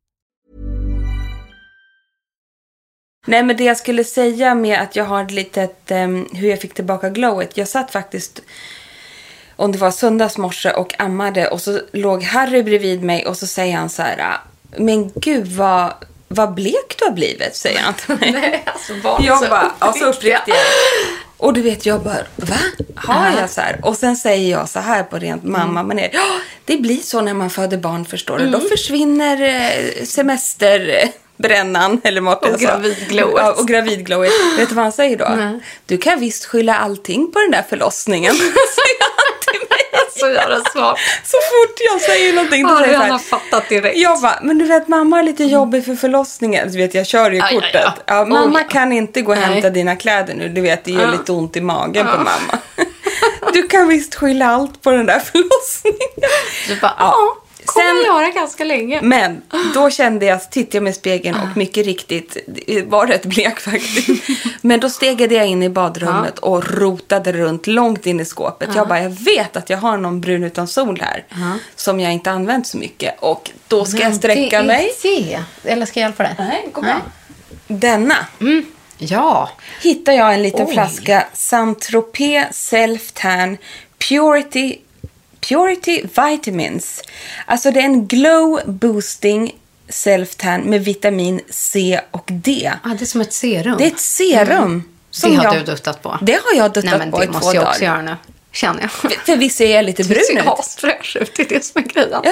[SPEAKER 4] Nej, men det jag skulle säga med att jag har ett litet, ehm, hur jag fick tillbaka glowet. Jag satt faktiskt, om det var söndags morse och ammade och så låg Harry bredvid mig och så säger han så här, men gud vad, vad blek du har blivit, säger han till mig.
[SPEAKER 3] Nej, alltså barn
[SPEAKER 4] Jag
[SPEAKER 3] så
[SPEAKER 4] bara, ja, så
[SPEAKER 3] uppriktiga.
[SPEAKER 4] uppriktig jag är. Och du vet, jag bara, va? Har jag så här? Och sen säger jag så här på rent
[SPEAKER 3] Mm.
[SPEAKER 4] mamma manér. Ja, det blir så när man föder barn förstår du.
[SPEAKER 3] Mm.
[SPEAKER 4] Då försvinner eh, semesterbrännan eller vad
[SPEAKER 3] Och
[SPEAKER 4] jag sa.
[SPEAKER 3] gravidglowet.
[SPEAKER 4] Ja, och gravidglowet. Vet du vad han säger då? Du kan visst skylla allting på den där förlossningen. säger han till mig.
[SPEAKER 3] Så jävla smart.
[SPEAKER 4] Så fort jag säger någonting då
[SPEAKER 3] Ja,
[SPEAKER 4] säger
[SPEAKER 3] han
[SPEAKER 4] så
[SPEAKER 3] har
[SPEAKER 4] här,
[SPEAKER 3] fattat direkt.
[SPEAKER 4] Jag bara, men du vet mamma har lite jobbigt för förlossningen. Du vet jag kör ju
[SPEAKER 3] Aj, aj,
[SPEAKER 4] kortet.
[SPEAKER 3] ja.
[SPEAKER 4] Ja, mamma
[SPEAKER 3] Oh, ja.
[SPEAKER 4] kan inte gå och
[SPEAKER 3] Nej.
[SPEAKER 4] hämta dina kläder nu. Du vet det gör
[SPEAKER 3] Ja.
[SPEAKER 4] lite ont i magen på
[SPEAKER 3] Ja.
[SPEAKER 4] mamma. Du kan visst skylla allt på den där förlossningen.
[SPEAKER 3] Du bara,
[SPEAKER 4] Ja.
[SPEAKER 3] ja, kommer
[SPEAKER 4] Sen-
[SPEAKER 3] jag göra ganska länge.
[SPEAKER 4] Men då kände jag, tittade jag mig i spegeln
[SPEAKER 3] Ah.
[SPEAKER 4] och mycket riktigt det var rätt blek faktiskt. Men då stegade jag in i badrummet
[SPEAKER 3] Ah.
[SPEAKER 4] och rotade runt långt in i skåpet. Jag bara, jag vet att jag har någon brun utan sol här
[SPEAKER 3] Ah.
[SPEAKER 4] som jag inte använt så mycket och då ska jag sträcka
[SPEAKER 3] det är
[SPEAKER 4] mig.
[SPEAKER 3] det. Eller ska jag hjälpa dig?
[SPEAKER 4] Nej, det går bra. Denna
[SPEAKER 3] Ja.
[SPEAKER 4] hittar jag en liten
[SPEAKER 3] Oj.
[SPEAKER 4] flaska Saint-Tropez Self Tan Purity Purity Vitamins. Alltså det är en glow boosting self tan med vitamin C och D.
[SPEAKER 3] Ah, det är som ett serum.
[SPEAKER 4] Det är ett serum.
[SPEAKER 3] Mm. Det har du duttat på.
[SPEAKER 4] Det har jag duttat
[SPEAKER 3] Nej, men
[SPEAKER 4] på
[SPEAKER 3] det
[SPEAKER 4] i två
[SPEAKER 3] måste jag också
[SPEAKER 4] dagar.
[SPEAKER 3] göra nu. Känner jag.
[SPEAKER 4] För visst ser jag lite
[SPEAKER 3] Du
[SPEAKER 4] brun
[SPEAKER 3] ser
[SPEAKER 4] ut?
[SPEAKER 3] asfräsch ut. Det är det som är grejen.
[SPEAKER 4] Ja.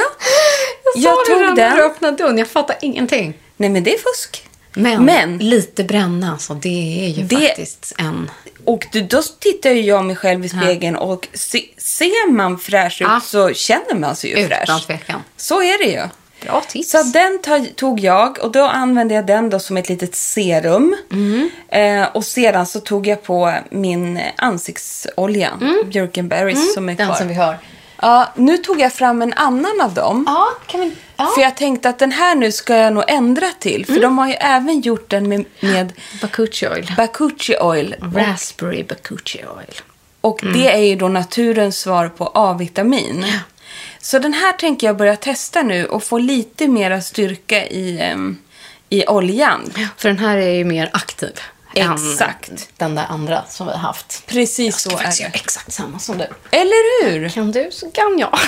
[SPEAKER 3] Jag,
[SPEAKER 4] Jag
[SPEAKER 3] tog
[SPEAKER 4] tog
[SPEAKER 3] den.
[SPEAKER 4] den.
[SPEAKER 3] när du öppnade dörren. Jag fattar ingenting.
[SPEAKER 4] Nej men det är fusk.
[SPEAKER 3] Men,
[SPEAKER 4] Men-
[SPEAKER 3] lite bränna alltså. Det är ju
[SPEAKER 4] Det-
[SPEAKER 3] faktiskt en...
[SPEAKER 4] Och du, då tittar ju jag mig själv i spegeln och se, ser man fräsch ut
[SPEAKER 3] Ja.
[SPEAKER 4] så känner man sig ju
[SPEAKER 3] Utan
[SPEAKER 4] fräsch.
[SPEAKER 3] tvekan.
[SPEAKER 4] Så är det ju.
[SPEAKER 3] Bra tips.
[SPEAKER 4] Så den ta- tog jag och då använde jag den då som ett litet serum.
[SPEAKER 3] Mm.
[SPEAKER 4] Eh, och sedan så tog jag på min ansiktsolja, Björkenberries, som är kvar.
[SPEAKER 3] Mm. Den som vi har.
[SPEAKER 4] Ja, nu tog jag fram en annan av dem.
[SPEAKER 3] Ja, kan vi... Ja. Mm.
[SPEAKER 4] För jag tänkte att den här nu ska jag nog ändra till. För de har ju även gjort den med, med
[SPEAKER 3] Bakuchi Mm. oil.
[SPEAKER 4] Bakuchi oil.
[SPEAKER 3] Raspberry Bakuchi oil.
[SPEAKER 4] Och det
[SPEAKER 3] Mm.
[SPEAKER 4] är ju då naturens svar på A-vitamin. Så den här tänker jag börja testa nu och få lite mera styrka i, em, i oljan.
[SPEAKER 3] För den här är ju mer aktiv. än
[SPEAKER 4] Exakt.
[SPEAKER 3] den där andra som vi har haft.
[SPEAKER 4] Precis så
[SPEAKER 3] Jag
[SPEAKER 4] är
[SPEAKER 3] faktiskt göra
[SPEAKER 4] det.
[SPEAKER 3] exakt samma som du.
[SPEAKER 4] Eller hur?
[SPEAKER 3] Kan du så kan jag.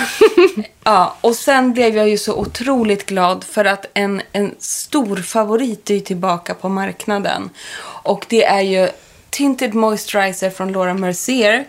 [SPEAKER 4] Ja, och sen blev jag ju så otroligt glad för att en, en stor favorit är ju tillbaka på marknaden. Och det är ju Tinted Moisturizer från Laura Mercier.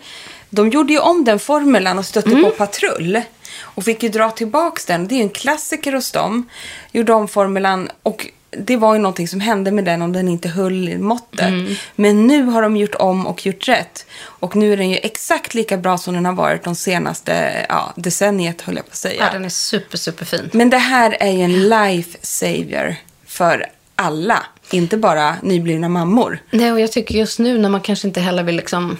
[SPEAKER 4] De gjorde ju om den formulan och stötte
[SPEAKER 3] Mm.
[SPEAKER 4] på patrull. Och fick ju dra tillbaks den. Det är ju en klassiker hos dem. Gjorde om formulan och det var ju någonting som hände med den om den inte höll måttet.
[SPEAKER 3] Mm.
[SPEAKER 4] Men nu har de gjort om och gjort rätt. Och nu är den ju exakt lika bra som den har varit de senaste ja, decenniet höll jag på att säga.
[SPEAKER 3] ja, den är super, super fin.
[SPEAKER 4] Men det här är ju en life saver för alla. Inte bara nyblivna mammor.
[SPEAKER 3] Nej, och jag tycker just nu när man kanske inte heller vill liksom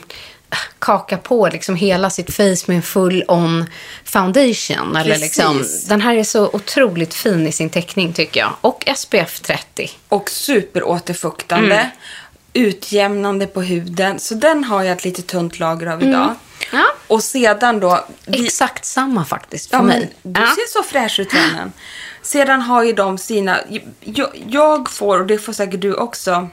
[SPEAKER 3] äh, kaka på liksom hela sitt face med en full on foundation. Eller
[SPEAKER 4] Precis.
[SPEAKER 3] liksom, den här är så otroligt fin i sin teckning tycker jag. Och SPF 30.
[SPEAKER 4] Och superåterfuktande.
[SPEAKER 3] Mm.
[SPEAKER 4] Utjämnande på huden. Så den har jag ett lite tunt lager av idag.
[SPEAKER 3] Mm. Ja.
[SPEAKER 4] Och sedan då... vi-
[SPEAKER 3] Exakt samma faktiskt för
[SPEAKER 4] Ja, men
[SPEAKER 3] mig.
[SPEAKER 4] du
[SPEAKER 3] Ja.
[SPEAKER 4] ser så fräsch ut, vännen. Sedan har ju de sina... Jag, jag får, och det får säkert du också,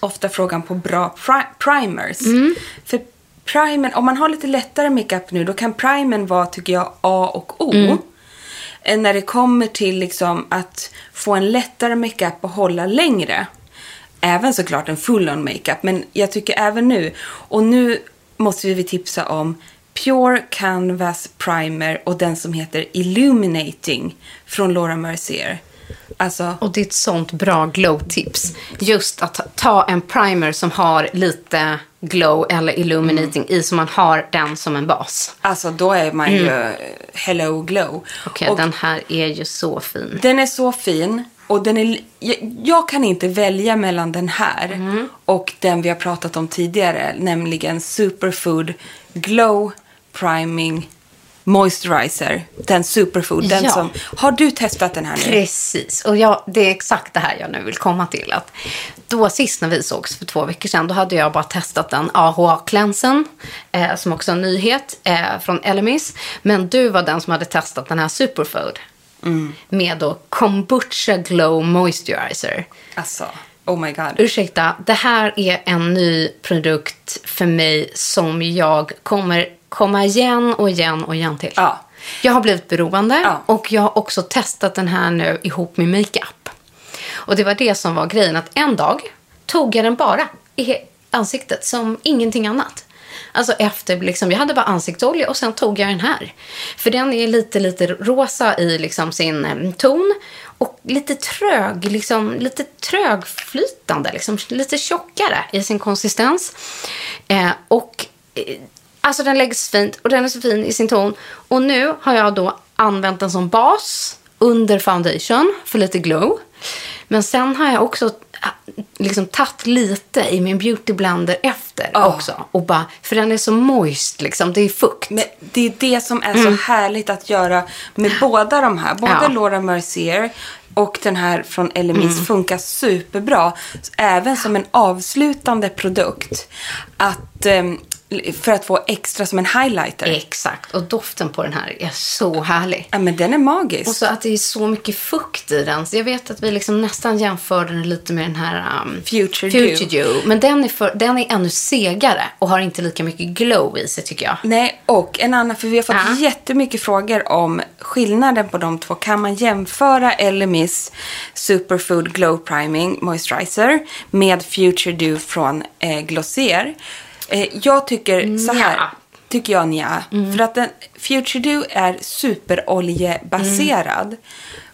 [SPEAKER 4] ofta frågan på bra pri- primers.
[SPEAKER 3] Mm.
[SPEAKER 4] För primern, om man har lite lättare makeup nu, då kan primern vara, tycker jag, A och O.
[SPEAKER 3] Mm.
[SPEAKER 4] Eh, När det kommer till liksom att få en lättare makeup och hålla längre. Även såklart en full-on makeup, men jag tycker även nu. Och nu måste vi tipsa om Pure Canvas Primer och den som heter Illuminating från Laura Mercier. Alltså,
[SPEAKER 3] Och det är ett sånt bra glow-tips. Just att ta- ta en primer som har lite glow eller illuminating i, så man har den som en bas.
[SPEAKER 4] alltså då är man ju eh, hello glow.
[SPEAKER 3] Okej,
[SPEAKER 4] Och
[SPEAKER 3] den här är ju så fin.
[SPEAKER 4] Den är så fin. Och den är, jag, jag kan inte välja mellan den här och den vi har pratat om tidigare. Nämligen Superfood Glow Priming Moisturizer. Den Superfood. Den
[SPEAKER 3] Ja.
[SPEAKER 4] som, har du testat den här nu?
[SPEAKER 3] Precis, och jag, det är exakt det här jag nu vill komma till. Att då sist när vi sågs för två veckor sedan, då hade jag bara testat den AHA-klänsen, eh, som också är en nyhet eh, från Elemis. Men du var den som hade testat den här Superfood. Med då kombucha glow moisturizer.
[SPEAKER 4] Alltså, oh my god.
[SPEAKER 3] Ursäkta, det här är en ny produkt för mig som jag kommer komma igen och igen och igen till.
[SPEAKER 4] Ja.
[SPEAKER 3] Jag har blivit beroende
[SPEAKER 4] Ja.
[SPEAKER 3] och jag har också testat den här nu ihop med makeup. Och det var det som var grejen, att en dag tog jag den bara i ansiktet som ingenting annat. Alltså efter, liksom, jag hade bara ansiktsolja och sen tog jag den här. För den är lite, lite rosa i liksom sin eh, ton och lite trög, liksom, lite trögflytande, liksom, lite tjockare i sin konsistens. Eh, och eh, Alltså den läggs fint och den är så fin i sin ton. Och nu har jag då använt den som bas under foundation för lite glow. Men sen har jag också äh, liksom tagit lite i min beauty blender efter också. Och bara, för den är så moist liksom, det är fukt.
[SPEAKER 4] Men det är det som är så härligt att göra med båda de här. Både
[SPEAKER 3] Mm. Ja. Mm.
[SPEAKER 4] Laura Mercier och den här från Elemis funkar superbra. Även som en avslutande produkt. Att, ehm, för att få extra som en highlighter.
[SPEAKER 3] Exakt, och doften på den här är så härlig.
[SPEAKER 4] Ja, men den är magisk.
[SPEAKER 3] Och så att det är så mycket fukt i den. Så jag vet att vi liksom nästan jämförde den lite med den här um,
[SPEAKER 4] Future
[SPEAKER 3] Future you. Men den är, för, den är ännu segare och har inte lika mycket glow i sig tycker jag.
[SPEAKER 4] Nej, och en annan, för vi har fått
[SPEAKER 3] Ja.
[SPEAKER 4] jättemycket frågor om skillnaden på de två. Kan man jämföra Elemis Superfood Glow Priming Moisturizer med Future Dew från eh, Glossier? Eh, jag tycker så här.
[SPEAKER 3] Nja.
[SPEAKER 4] Tycker jag nja. För att den, Future Dew är superoljebaserad.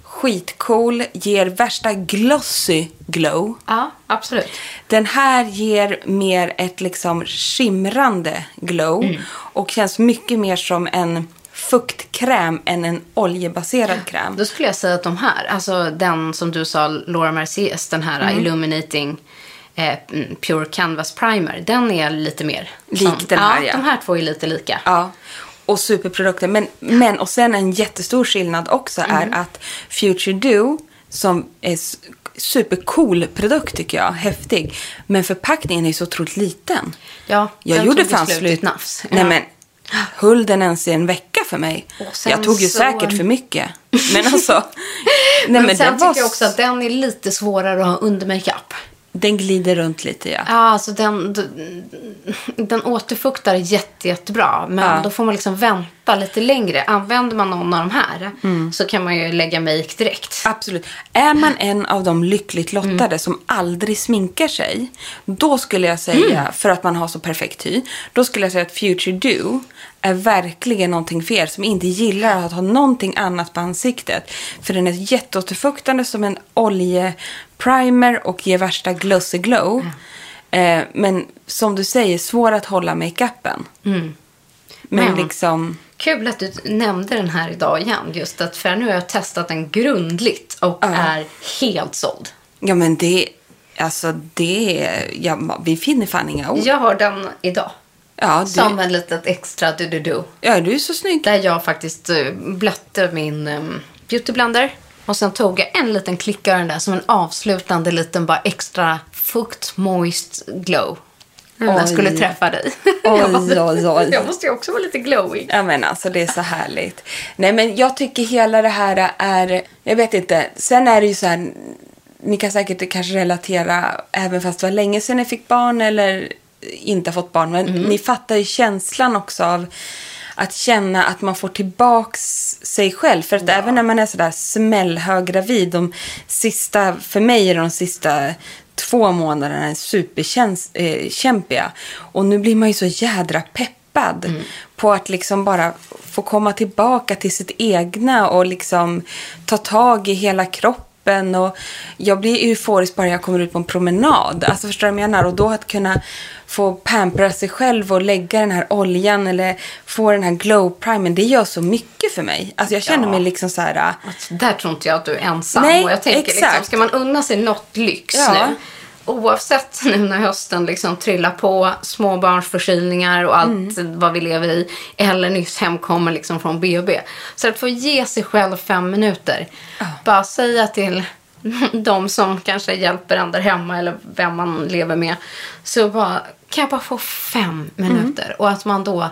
[SPEAKER 4] Skitcool, ger värsta glossy glow.
[SPEAKER 3] Ja, absolut.
[SPEAKER 4] Den här ger mer ett liksom skimrande glow och känns mycket mer som en fuktkräm än en oljebaserad kräm.
[SPEAKER 3] Då skulle jag säga att de här, alltså den som du sa, Laura Merciers, den här uh,
[SPEAKER 4] Mm.
[SPEAKER 3] Illuminating eh, Pure Canvas Primer, den är lite mer...
[SPEAKER 4] Lik
[SPEAKER 3] som-
[SPEAKER 4] den här,
[SPEAKER 3] ja.
[SPEAKER 4] ja.
[SPEAKER 3] de här två är lite lika.
[SPEAKER 4] Ja. Och superprodukter. Men, men och sen en jättestor skillnad också
[SPEAKER 3] Mm.
[SPEAKER 4] är att Future Do, som är s- supercool produkt tycker jag, häftig. Men förpackningen är så otroligt liten.
[SPEAKER 3] Ja,
[SPEAKER 4] jag
[SPEAKER 3] den
[SPEAKER 4] gjorde
[SPEAKER 3] tog ju
[SPEAKER 4] fan
[SPEAKER 3] slut i
[SPEAKER 4] slut.
[SPEAKER 3] ett nafs.
[SPEAKER 4] Nej
[SPEAKER 3] Ja.
[SPEAKER 4] men, höll den ens i en vecka för mig?
[SPEAKER 3] Och sen
[SPEAKER 4] Jag tog ju
[SPEAKER 3] så-
[SPEAKER 4] säkert för mycket. Men alltså. nej,
[SPEAKER 3] men, sen
[SPEAKER 4] den
[SPEAKER 3] tycker
[SPEAKER 4] var
[SPEAKER 3] jag också
[SPEAKER 4] s-
[SPEAKER 3] att den är lite svårare att ha under makeup.
[SPEAKER 4] den glider runt lite ja.
[SPEAKER 3] Ja, alltså den, den återfuktar jätte, jättebra. Men
[SPEAKER 4] Ja.
[SPEAKER 3] då får man liksom vänta lite längre. Använder man någon av de här
[SPEAKER 4] Mm.
[SPEAKER 3] så kan man ju lägga make direkt.
[SPEAKER 4] Absolut. Är man en av de lyckligt lottade som aldrig sminkar sig, då skulle jag säga, för att man har så perfekt hy, då skulle jag säga att Future Do är verkligen någonting för er som inte gillar att ha någonting annat på ansiktet. För den är jätteåterfuktande som en oljeprimer och ger värsta glossy glow. Eh, men som du säger, svår att hålla makeupen. Men,
[SPEAKER 3] Men-
[SPEAKER 4] liksom...
[SPEAKER 3] Kul att du nämnde den här idag igen. Just att för nu har jag testat den grundligt och
[SPEAKER 4] Ja.
[SPEAKER 3] är helt såld.
[SPEAKER 4] Ja men det... Alltså det... är- Ja, vi finner fan inga ord.
[SPEAKER 3] Jag har den idag.
[SPEAKER 4] Ja, du,
[SPEAKER 3] Som en litet extra du-du-du.
[SPEAKER 4] ja, du är så snygg.
[SPEAKER 3] Där jag faktiskt eh, blötte min eh, beautyblender. Och sen tog jag en liten klick av den där som en avslutande liten bara extra fukt moist glow. Om
[SPEAKER 4] Oj.
[SPEAKER 3] jag skulle träffa dig.
[SPEAKER 4] Oj, oj, oj.
[SPEAKER 3] Jag måste ju också vara lite glowig.
[SPEAKER 4] Ja men alltså det är så härligt. Nej men jag tycker hela det här är, jag vet inte, sen är det ju så här, ni kan säkert kanske relatera även fast det var länge sedan ni fick barn eller inte har fått barn, men ni fattar ju känslan också av att känna att man får tillbaks sig själv. För att även när man är sådär smällhög gravid, de sista, för mig är de sista två månaderna är superkämpiga. och nu blir man ju så jädra peppad
[SPEAKER 3] Mm.
[SPEAKER 4] på att liksom bara få komma tillbaka till sitt egna och liksom ta tag i hela kroppen. Och jag blir euforisk bara jag kommer ut på en promenad. Alltså förstår du vad jag menar? Och då att kunna få pampra sig själv och lägga den här oljan eller få den här glow primen. Det gör så mycket för mig. Alltså jag känner mig liksom så här...
[SPEAKER 3] Att Där tror inte jag att du är ensam.
[SPEAKER 4] Nej,
[SPEAKER 3] och jag tänker, Liksom,
[SPEAKER 4] exakt.
[SPEAKER 3] ska man unna sig något lyx
[SPEAKER 4] Ja.
[SPEAKER 3] nu? Oavsett nu när hösten liksom trillar på, småbarnsförkylningar och allt vad vi lever i. Eller nyss hemkommen liksom från BB. Så att få ge sig själv fem minuter. Bara säga till de som kanske hjälper en där hemma eller vem man lever med. Så bara, kan jag bara få fem minuter? Och att man då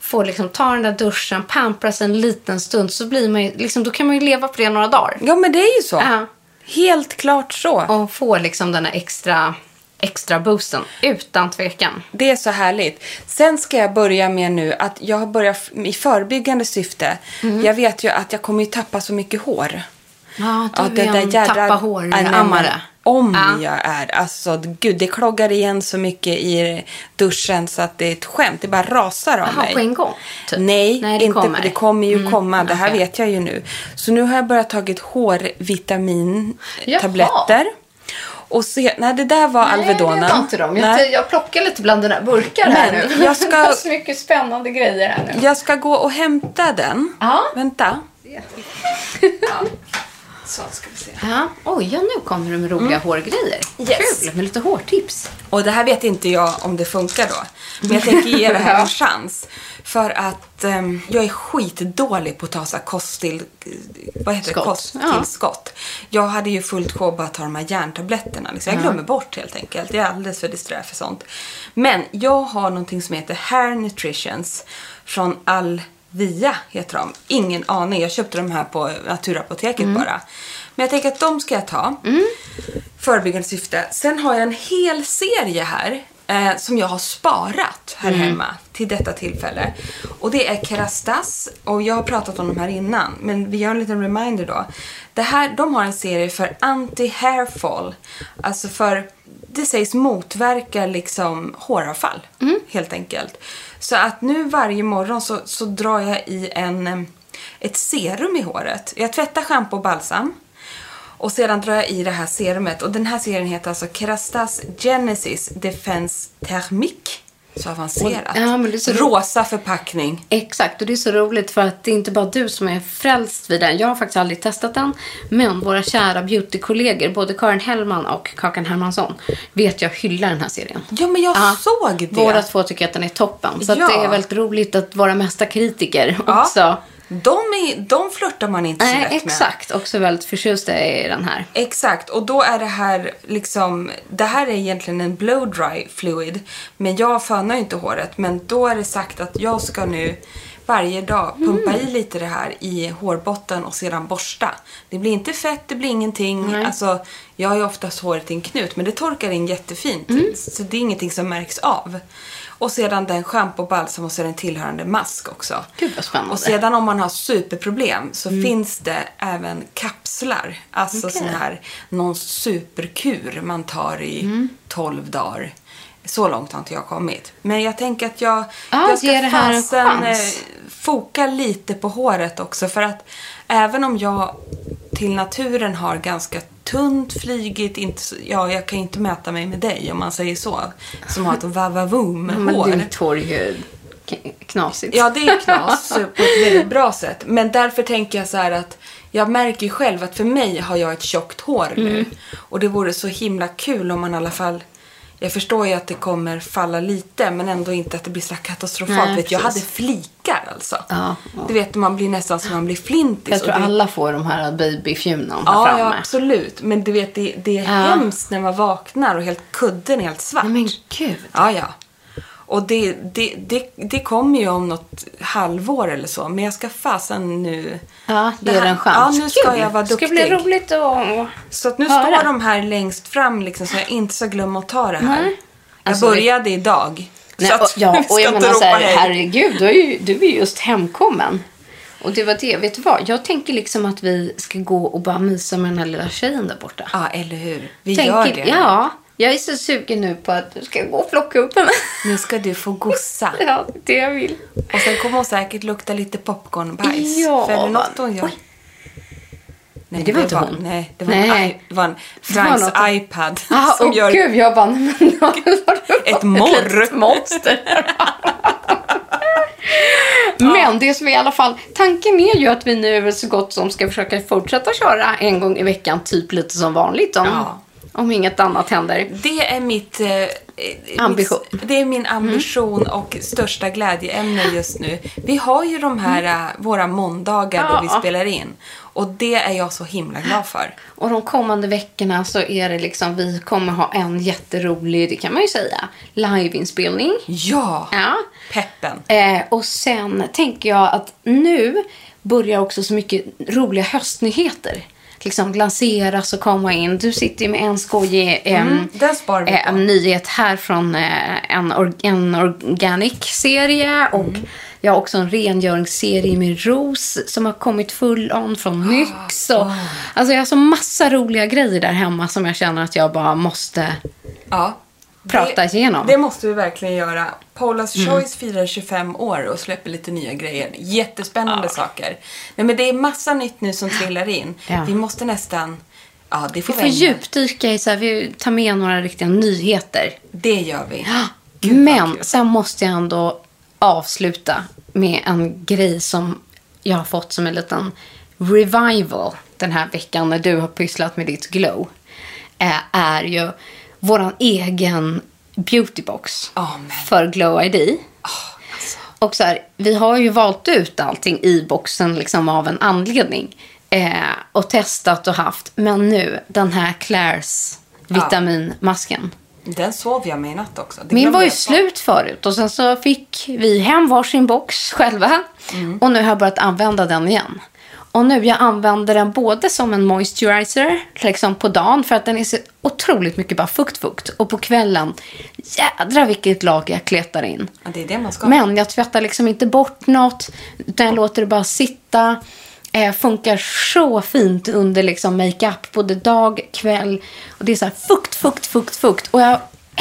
[SPEAKER 3] får liksom ta den där duschen, pampras en liten stund. Så blir man ju, liksom, då kan man ju leva på det några dagar.
[SPEAKER 4] Ja men det är ju så.
[SPEAKER 3] Ja.
[SPEAKER 4] Helt klart så.
[SPEAKER 3] Och få liksom den här extra, extra boosten. Utan tvekan.
[SPEAKER 4] Det är så härligt. Sen ska jag börja med nu att jag har börjat f- i förebyggande syfte. Jag vet ju att jag kommer ju tappa så mycket hår.
[SPEAKER 3] Mhm. Ja, du
[SPEAKER 4] det
[SPEAKER 3] är en tappa hår
[SPEAKER 4] Ja, nej, men
[SPEAKER 3] ammare.
[SPEAKER 4] Om
[SPEAKER 3] Ja.
[SPEAKER 4] jag är. Alltså gud, det kloggar igen så mycket i duschen så att det är ett skämt. Det bara rasar av
[SPEAKER 3] Jaha,
[SPEAKER 4] mig.
[SPEAKER 3] på en gång, typ?
[SPEAKER 4] Nej,
[SPEAKER 3] Nej, det
[SPEAKER 4] inte,
[SPEAKER 3] kommer. Mm,
[SPEAKER 4] det kommer ju komma. Det här
[SPEAKER 3] okej.
[SPEAKER 4] vet jag ju nu. Så nu har jag börjat tagit
[SPEAKER 3] Jaha.
[SPEAKER 4] hårvitamintabletter. Och se, nej det där var Alvedonen.
[SPEAKER 3] Nej, det var inte dem.
[SPEAKER 4] Nej.
[SPEAKER 3] Jag, jag plockar lite bland dina burkar här
[SPEAKER 4] Men
[SPEAKER 3] nu.
[SPEAKER 4] jag ska-
[SPEAKER 3] Det är så mycket spännande grejer här nu.
[SPEAKER 4] Jag ska gå och hämta den.
[SPEAKER 3] Ja.
[SPEAKER 4] Vänta. Så ska vi se.
[SPEAKER 3] Ja, oj, ja, nu kommer du med roliga hårgrejer.
[SPEAKER 4] Yes.
[SPEAKER 3] Kul, med lite hårtips.
[SPEAKER 4] Och det här vet inte jag om det funkar då. Men jag tänker ge det här en chans. För att ehm, jag är skitdålig på att ta så här kosttill... Vad heter
[SPEAKER 3] Skott.
[SPEAKER 4] det? Kosttillskott. Jag hade ju fullt sjå bara att ta de här järntabletterna. Liksom. Jag glömmer bort helt enkelt. Jag är alldeles för disträ för sånt. Men jag har någonting som heter Hair Nutritions från Alvia heter de. Ingen aning. Jag köpte de här på Naturapoteket
[SPEAKER 3] Mm.
[SPEAKER 4] bara. Men jag tänker att de ska jag ta förebyggande syfte. Sen har jag en hel serie här eh, som jag har sparat här hemma till detta tillfälle. Och det är Kerastas och jag har pratat om de här innan men vi gör en liten reminder då. Det här, de har en serie för anti-hairfall, alltså för det sägs motverka liksom håravfall helt enkelt. Så att nu varje morgon så, så drar jag i en, eh, ett serum i håret. Jag tvättar schampo och balsam. Och sedan drar jag i det här serumet och den här serien heter alltså Kerastas Genesis Defense Thermique. Så avancerat.
[SPEAKER 3] Och- ja, men det är så-
[SPEAKER 4] Rosa förpackning.
[SPEAKER 3] Exakt, och det är så roligt för att det är inte bara du som är frälst vid den. Jag har faktiskt aldrig testat den. Men våra kära beautykollegor, både Karin Hellman och Kakan Hermansson, vet jag hyllar den här serien.
[SPEAKER 4] Ja, men jag såg det.
[SPEAKER 3] Båda två tycker att den är toppen. Så
[SPEAKER 4] Ja.
[SPEAKER 3] att det är väldigt roligt att våra mästarkritiker
[SPEAKER 4] Ja.
[SPEAKER 3] också.
[SPEAKER 4] De, är, de flörtar man inte så
[SPEAKER 3] Nej,
[SPEAKER 4] lätt med.
[SPEAKER 3] exakt. Också väldigt förtjusta i den här.
[SPEAKER 4] Exakt, och då är det här liksom, det här är egentligen en blow dry fluid. Men jag fönar ju inte håret, men då är det sagt att jag ska nu varje dag
[SPEAKER 3] Mm.
[SPEAKER 4] pumpa i lite det här i hårbotten och sedan borsta. Det blir inte fett, det blir ingenting. Alltså, jag har ju oftast håret i en knut, men det torkar in jättefint.
[SPEAKER 3] Mm.
[SPEAKER 4] Så det är ingenting som märks av. Och sedan den schampo, balsam och sedan tillhörande mask också.
[SPEAKER 3] Gud, vad spännande.
[SPEAKER 4] Och sedan om man har superproblem så
[SPEAKER 3] Mm.
[SPEAKER 4] finns det även kapslar. Alltså sån här, någon superkur man tar i
[SPEAKER 3] Mm.
[SPEAKER 4] 12 dagar. Så långt har inte jag kommit. Men jag tänker att jag,
[SPEAKER 3] Ja,
[SPEAKER 4] jag ska
[SPEAKER 3] ge det här en
[SPEAKER 4] fasen,
[SPEAKER 3] chans.
[SPEAKER 4] eh, foka lite på håret också. För att även om jag till naturen har ganska tunt, flygigt, inte, så- ja, jag kan inte mäta mig med dig om man säger så. Som har ett vavavoom
[SPEAKER 3] Men
[SPEAKER 4] hår.
[SPEAKER 3] ditt hår är ju k- knasigt.
[SPEAKER 4] Ja, det är knas på ett väldigt bra sätt. Men därför tänker jag så här att jag märker ju själv att för mig har jag ett tjockt hår nu.
[SPEAKER 3] Mm.
[SPEAKER 4] Och det vore så himla kul om man i alla fall... Jag förstår ju att det kommer falla lite, men ändå inte att det blir så här katastrofalt.
[SPEAKER 3] Nej,
[SPEAKER 4] vet, du, jag hade
[SPEAKER 3] precis.
[SPEAKER 4] flikar alltså.
[SPEAKER 3] Ja, ja.
[SPEAKER 4] Du vet, man blir nästan som man blir flintis.
[SPEAKER 3] jag tror
[SPEAKER 4] och det-
[SPEAKER 3] alla får de här babyfjumnarna
[SPEAKER 4] Ja,
[SPEAKER 3] framme.
[SPEAKER 4] ja, absolut. Men du vet, det, det är hemskt när man vaknar och helt kudden är helt svart.
[SPEAKER 3] Nej, men gud.
[SPEAKER 4] Ja, ja. Och det, det, det, det kommer ju om något halvår eller så. Men jag ska fasen nu...
[SPEAKER 3] Ja,
[SPEAKER 4] det
[SPEAKER 3] ge det
[SPEAKER 4] här-
[SPEAKER 3] en chans.
[SPEAKER 4] Ja, nu ska
[SPEAKER 3] Kul.
[SPEAKER 4] jag vara duktig.
[SPEAKER 3] Det ska bli roligt att
[SPEAKER 4] Så att nu
[SPEAKER 3] höra.
[SPEAKER 4] står de här längst fram liksom, så jag inte ska glömma att ta det här.
[SPEAKER 3] Nej.
[SPEAKER 4] Jag
[SPEAKER 3] Alltså,
[SPEAKER 4] började idag.
[SPEAKER 3] Nej,
[SPEAKER 4] så att
[SPEAKER 3] och, ja,
[SPEAKER 4] vi
[SPEAKER 3] och jag
[SPEAKER 4] ska
[SPEAKER 3] menar
[SPEAKER 4] inte
[SPEAKER 3] så här,
[SPEAKER 4] ropa hej.
[SPEAKER 3] herregud, du är, ju, du är just hemkommen. Och det var det, vet du vad? Jag tänker liksom att vi ska gå och bara mysa med den här lilla tjejen där borta.
[SPEAKER 4] Ja, eller hur? Vi
[SPEAKER 3] tänker,
[SPEAKER 4] gör det.
[SPEAKER 3] Ja, jag är så sugen nu på att du ska gå och plocka upp henne.
[SPEAKER 4] Nu ska du få gossa.
[SPEAKER 3] ja, det jag vill.
[SPEAKER 4] Och sen kommer hon säkert lukta lite popcornbajs.
[SPEAKER 3] Ja,
[SPEAKER 4] För är det något
[SPEAKER 3] vad-
[SPEAKER 4] hon gör?
[SPEAKER 3] Oj. Nej, det var inte hon.
[SPEAKER 4] Nej, det var, En,
[SPEAKER 3] Nej.
[SPEAKER 4] i- det var en Franks
[SPEAKER 3] Det var något-
[SPEAKER 4] iPad
[SPEAKER 3] Ah,
[SPEAKER 4] som
[SPEAKER 3] och
[SPEAKER 4] gör
[SPEAKER 3] gud, jag bara... nej, men har du varit-
[SPEAKER 4] ett morr.
[SPEAKER 3] litet monster. Men det som är i alla fall, tanken är ju att vi nu så gott som ska försöka fortsätta köra en gång i veckan, typ lite som vanligt om,
[SPEAKER 4] Ja.
[SPEAKER 3] om inget annat händer.
[SPEAKER 4] Det är mitt... eh, eh,
[SPEAKER 3] Ambition. Mm.
[SPEAKER 4] mitt- det är min ambition och största glädjeämne just nu. Vi har ju de här, eh, våra måndagar då vi
[SPEAKER 3] Mm. Ja.
[SPEAKER 4] spelar in. Och det är jag så himla glad för.
[SPEAKER 3] Och de kommande veckorna så är det liksom, vi kommer ha en jätterolig, det kan man ju säga, liveinspelning.
[SPEAKER 4] Ja!
[SPEAKER 3] Ja.
[SPEAKER 4] Peppen.
[SPEAKER 3] Eh, och sen tänker jag att nu börjar också så mycket roliga höstnyheter. Liksom lanseras och komma in. Du sitter ju med en skojig eh,
[SPEAKER 4] Mm, den sparar vi
[SPEAKER 3] eh,
[SPEAKER 4] på.
[SPEAKER 3] nyhet här från eh, en, or- en organic-serie.
[SPEAKER 4] Mm.
[SPEAKER 3] Och jag har också en rengöringsserie med Ros som har kommit full on
[SPEAKER 4] Ah,
[SPEAKER 3] från Nyx. Och, Alltså jag har så massa roliga grejer där hemma som jag känner att jag bara måste...
[SPEAKER 4] Ja.
[SPEAKER 3] Prata igenom. Mm.
[SPEAKER 4] Det måste vi verkligen göra. Paula's Choice firar 25 år och släpper lite nya grejer. Jättespännande saker. Nej, men det är massa nytt nu som trillar in.
[SPEAKER 3] Ja.
[SPEAKER 4] Vi måste nästan... Ja, det får
[SPEAKER 3] Vi får
[SPEAKER 4] ägna-
[SPEAKER 3] djupdyka i så här, vi tar med några riktiga nyheter.
[SPEAKER 4] Det gör vi. Gud, vad
[SPEAKER 3] Men
[SPEAKER 4] kul.
[SPEAKER 3] sen måste jag ändå avsluta med en grej som jag har fått som en liten revival den här veckan när du har pysslat med ditt glow. Eh, är ju vår egen beautybox
[SPEAKER 4] Ja, men- alltså.
[SPEAKER 3] för Glow ID. Och så här, vi har ju valt ut allting i boxen liksom av en anledning. Eh, och testat och haft. Men nu, den här Claire's vitaminmasken.
[SPEAKER 4] Den sov jag med i natt också. Det
[SPEAKER 3] Min
[SPEAKER 4] glömde
[SPEAKER 3] var ju
[SPEAKER 4] jag ta.
[SPEAKER 3] slut förut och sen så fick vi hem varsin box själva.
[SPEAKER 4] Mm.
[SPEAKER 3] Och nu har jag börjat använda den igen. Och nu jag använder den både som en moisturizer liksom på dagen för att den är så otroligt mycket bara fukt-fukt. Och på kvällen, jädra vilket lager jag kletar in.
[SPEAKER 4] Ja, det är det man ska.
[SPEAKER 3] Men jag tvättar liksom inte bort något, utan jag låter det bara sitta. Eh, funkar så fint under liksom makeup, både dag, kväll. Och det är så här fukt, fukt, fukt, fukt. Och jag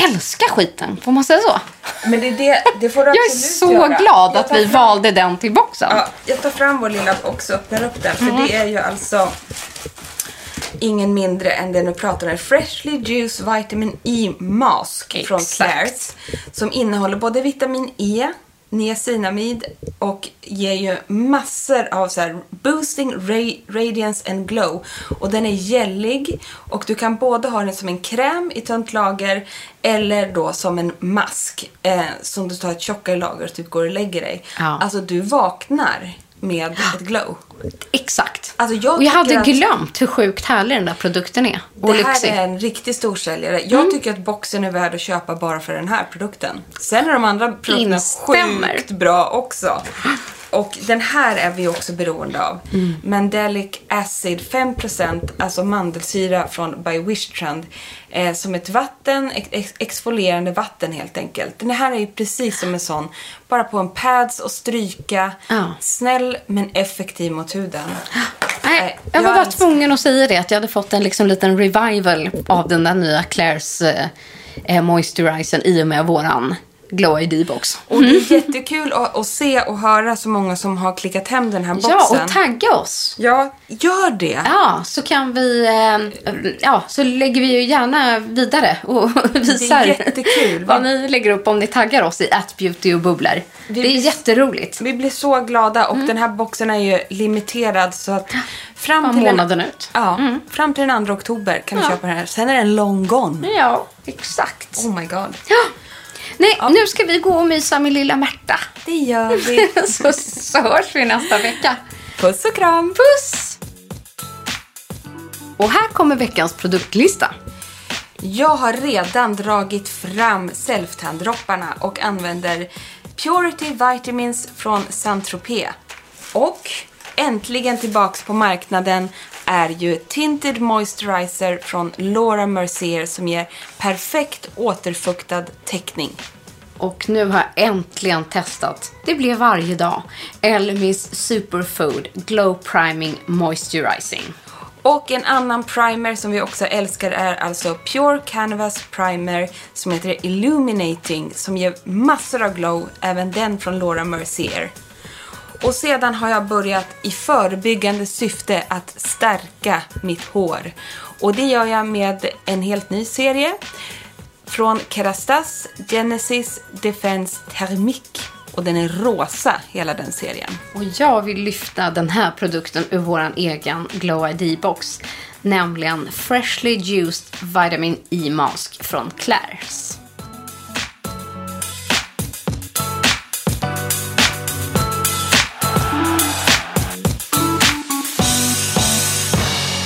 [SPEAKER 3] älskar skiten, får man säga så?
[SPEAKER 4] Men det är det, det får du
[SPEAKER 3] Jag är
[SPEAKER 4] absolut
[SPEAKER 3] så
[SPEAKER 4] göra.
[SPEAKER 3] glad
[SPEAKER 4] Jag
[SPEAKER 3] att
[SPEAKER 4] tar
[SPEAKER 3] vi
[SPEAKER 4] fram-
[SPEAKER 3] valde den till boxen.
[SPEAKER 4] Ja, jag tar fram vår lilla box och öppnar upp den. För det är ju alltså ingen mindre än den vi pratar om. Freshly Juice Vitamin E Mask från
[SPEAKER 3] Exakt.
[SPEAKER 4] Claire's. Som innehåller både vitamin E, niacinamid och ger ju massor av så här boosting, ra- radiance and glow. Och den är gällig och du kan både ha den som en kräm i tunt lager eller då som en mask eh, som du tar ett tjockare lager och typ går och lägger dig.
[SPEAKER 3] Ja.
[SPEAKER 4] Alltså du vaknar med ett glow.
[SPEAKER 3] Exakt.
[SPEAKER 4] Alltså, jag
[SPEAKER 3] och jag hade
[SPEAKER 4] tycker att-
[SPEAKER 3] glömt hur sjukt härlig den där produkten är. Mm. Och
[SPEAKER 4] det här
[SPEAKER 3] lyxig.
[SPEAKER 4] är en riktig storsäljare. Jag tycker att boxen är värd att köpa bara för den här produkten. Sen är de andra produkterna
[SPEAKER 3] Instämmer.
[SPEAKER 4] sjukt bra också. Och den här är vi också beroende av.
[SPEAKER 3] Mm.
[SPEAKER 4] Mandelic Acid 5%, alltså mandelsyra från By Wish Trend. Eh, som ett vatten, ex- exfolierande vatten helt enkelt. Den här är ju precis som en sån. Bara på en pads och stryka.
[SPEAKER 3] Ja.
[SPEAKER 4] Snäll men effektiv mot huden. Eh,
[SPEAKER 3] Nej, jag var bara tvungen att säga det, att jag hade fått en liksom liten revival av den där nya Claire's eh, eh, moisturizern i och med våran Glow ID-box.
[SPEAKER 4] Och det är jättekul att, att se och höra så många som har klickat hem den här boxen.
[SPEAKER 3] Ja, och tagga oss.
[SPEAKER 4] Ja, gör det.
[SPEAKER 3] Ja, så kan vi... Eh, ja, så lägger vi ju gärna vidare och visar
[SPEAKER 4] jättekul.
[SPEAKER 3] vad ni lägger upp om ni taggar oss i att beauty och bubblor. Det är jätteroligt.
[SPEAKER 4] Vi blir så glada
[SPEAKER 3] Mm.
[SPEAKER 4] och den här boxen är ju limiterad så att fram
[SPEAKER 3] Bara
[SPEAKER 4] till, den,
[SPEAKER 3] månaden ut.
[SPEAKER 4] ja, fram till den 2 oktober kan du
[SPEAKER 3] Ja.
[SPEAKER 4] köpa den här. Sen är den long gone.
[SPEAKER 3] Ja, exakt.
[SPEAKER 4] Oh my god.
[SPEAKER 3] Ja. Nej, nu ska vi gå och mysa med lilla Märta.
[SPEAKER 4] Det gör vi.
[SPEAKER 3] så, så hörs vi nästa vecka.
[SPEAKER 4] Puss och kram.
[SPEAKER 3] Puss! Och här kommer veckans produktlista.
[SPEAKER 4] Jag har redan dragit fram selftandropparna och använder Purity Vitamins från Saint-Tropez. Och äntligen tillbaks på marknaden är ju Tinted Moisturizer från Laura Mercier som ger perfekt återfuktad täckning.
[SPEAKER 3] Och nu har jag äntligen testat. Det blev varje dag. Elmis Superfood Glow Priming Moisturizing.
[SPEAKER 4] Och en annan primer som vi också älskar är alltså Pure Canvas Primer som heter Illuminating som ger massor av glow, även den från Laura Mercier. Och sedan har jag börjat i förebyggande syfte att stärka mitt hår. Och det gör jag med en helt ny serie från Kerastas Genesis Defense Thermique. Och den är rosa, hela den serien.
[SPEAKER 3] Och jag vill lyfta den här produkten ur vår egen Glow ID-box. Nämligen Freshly Juiced Vitamin E Mask från Claire's.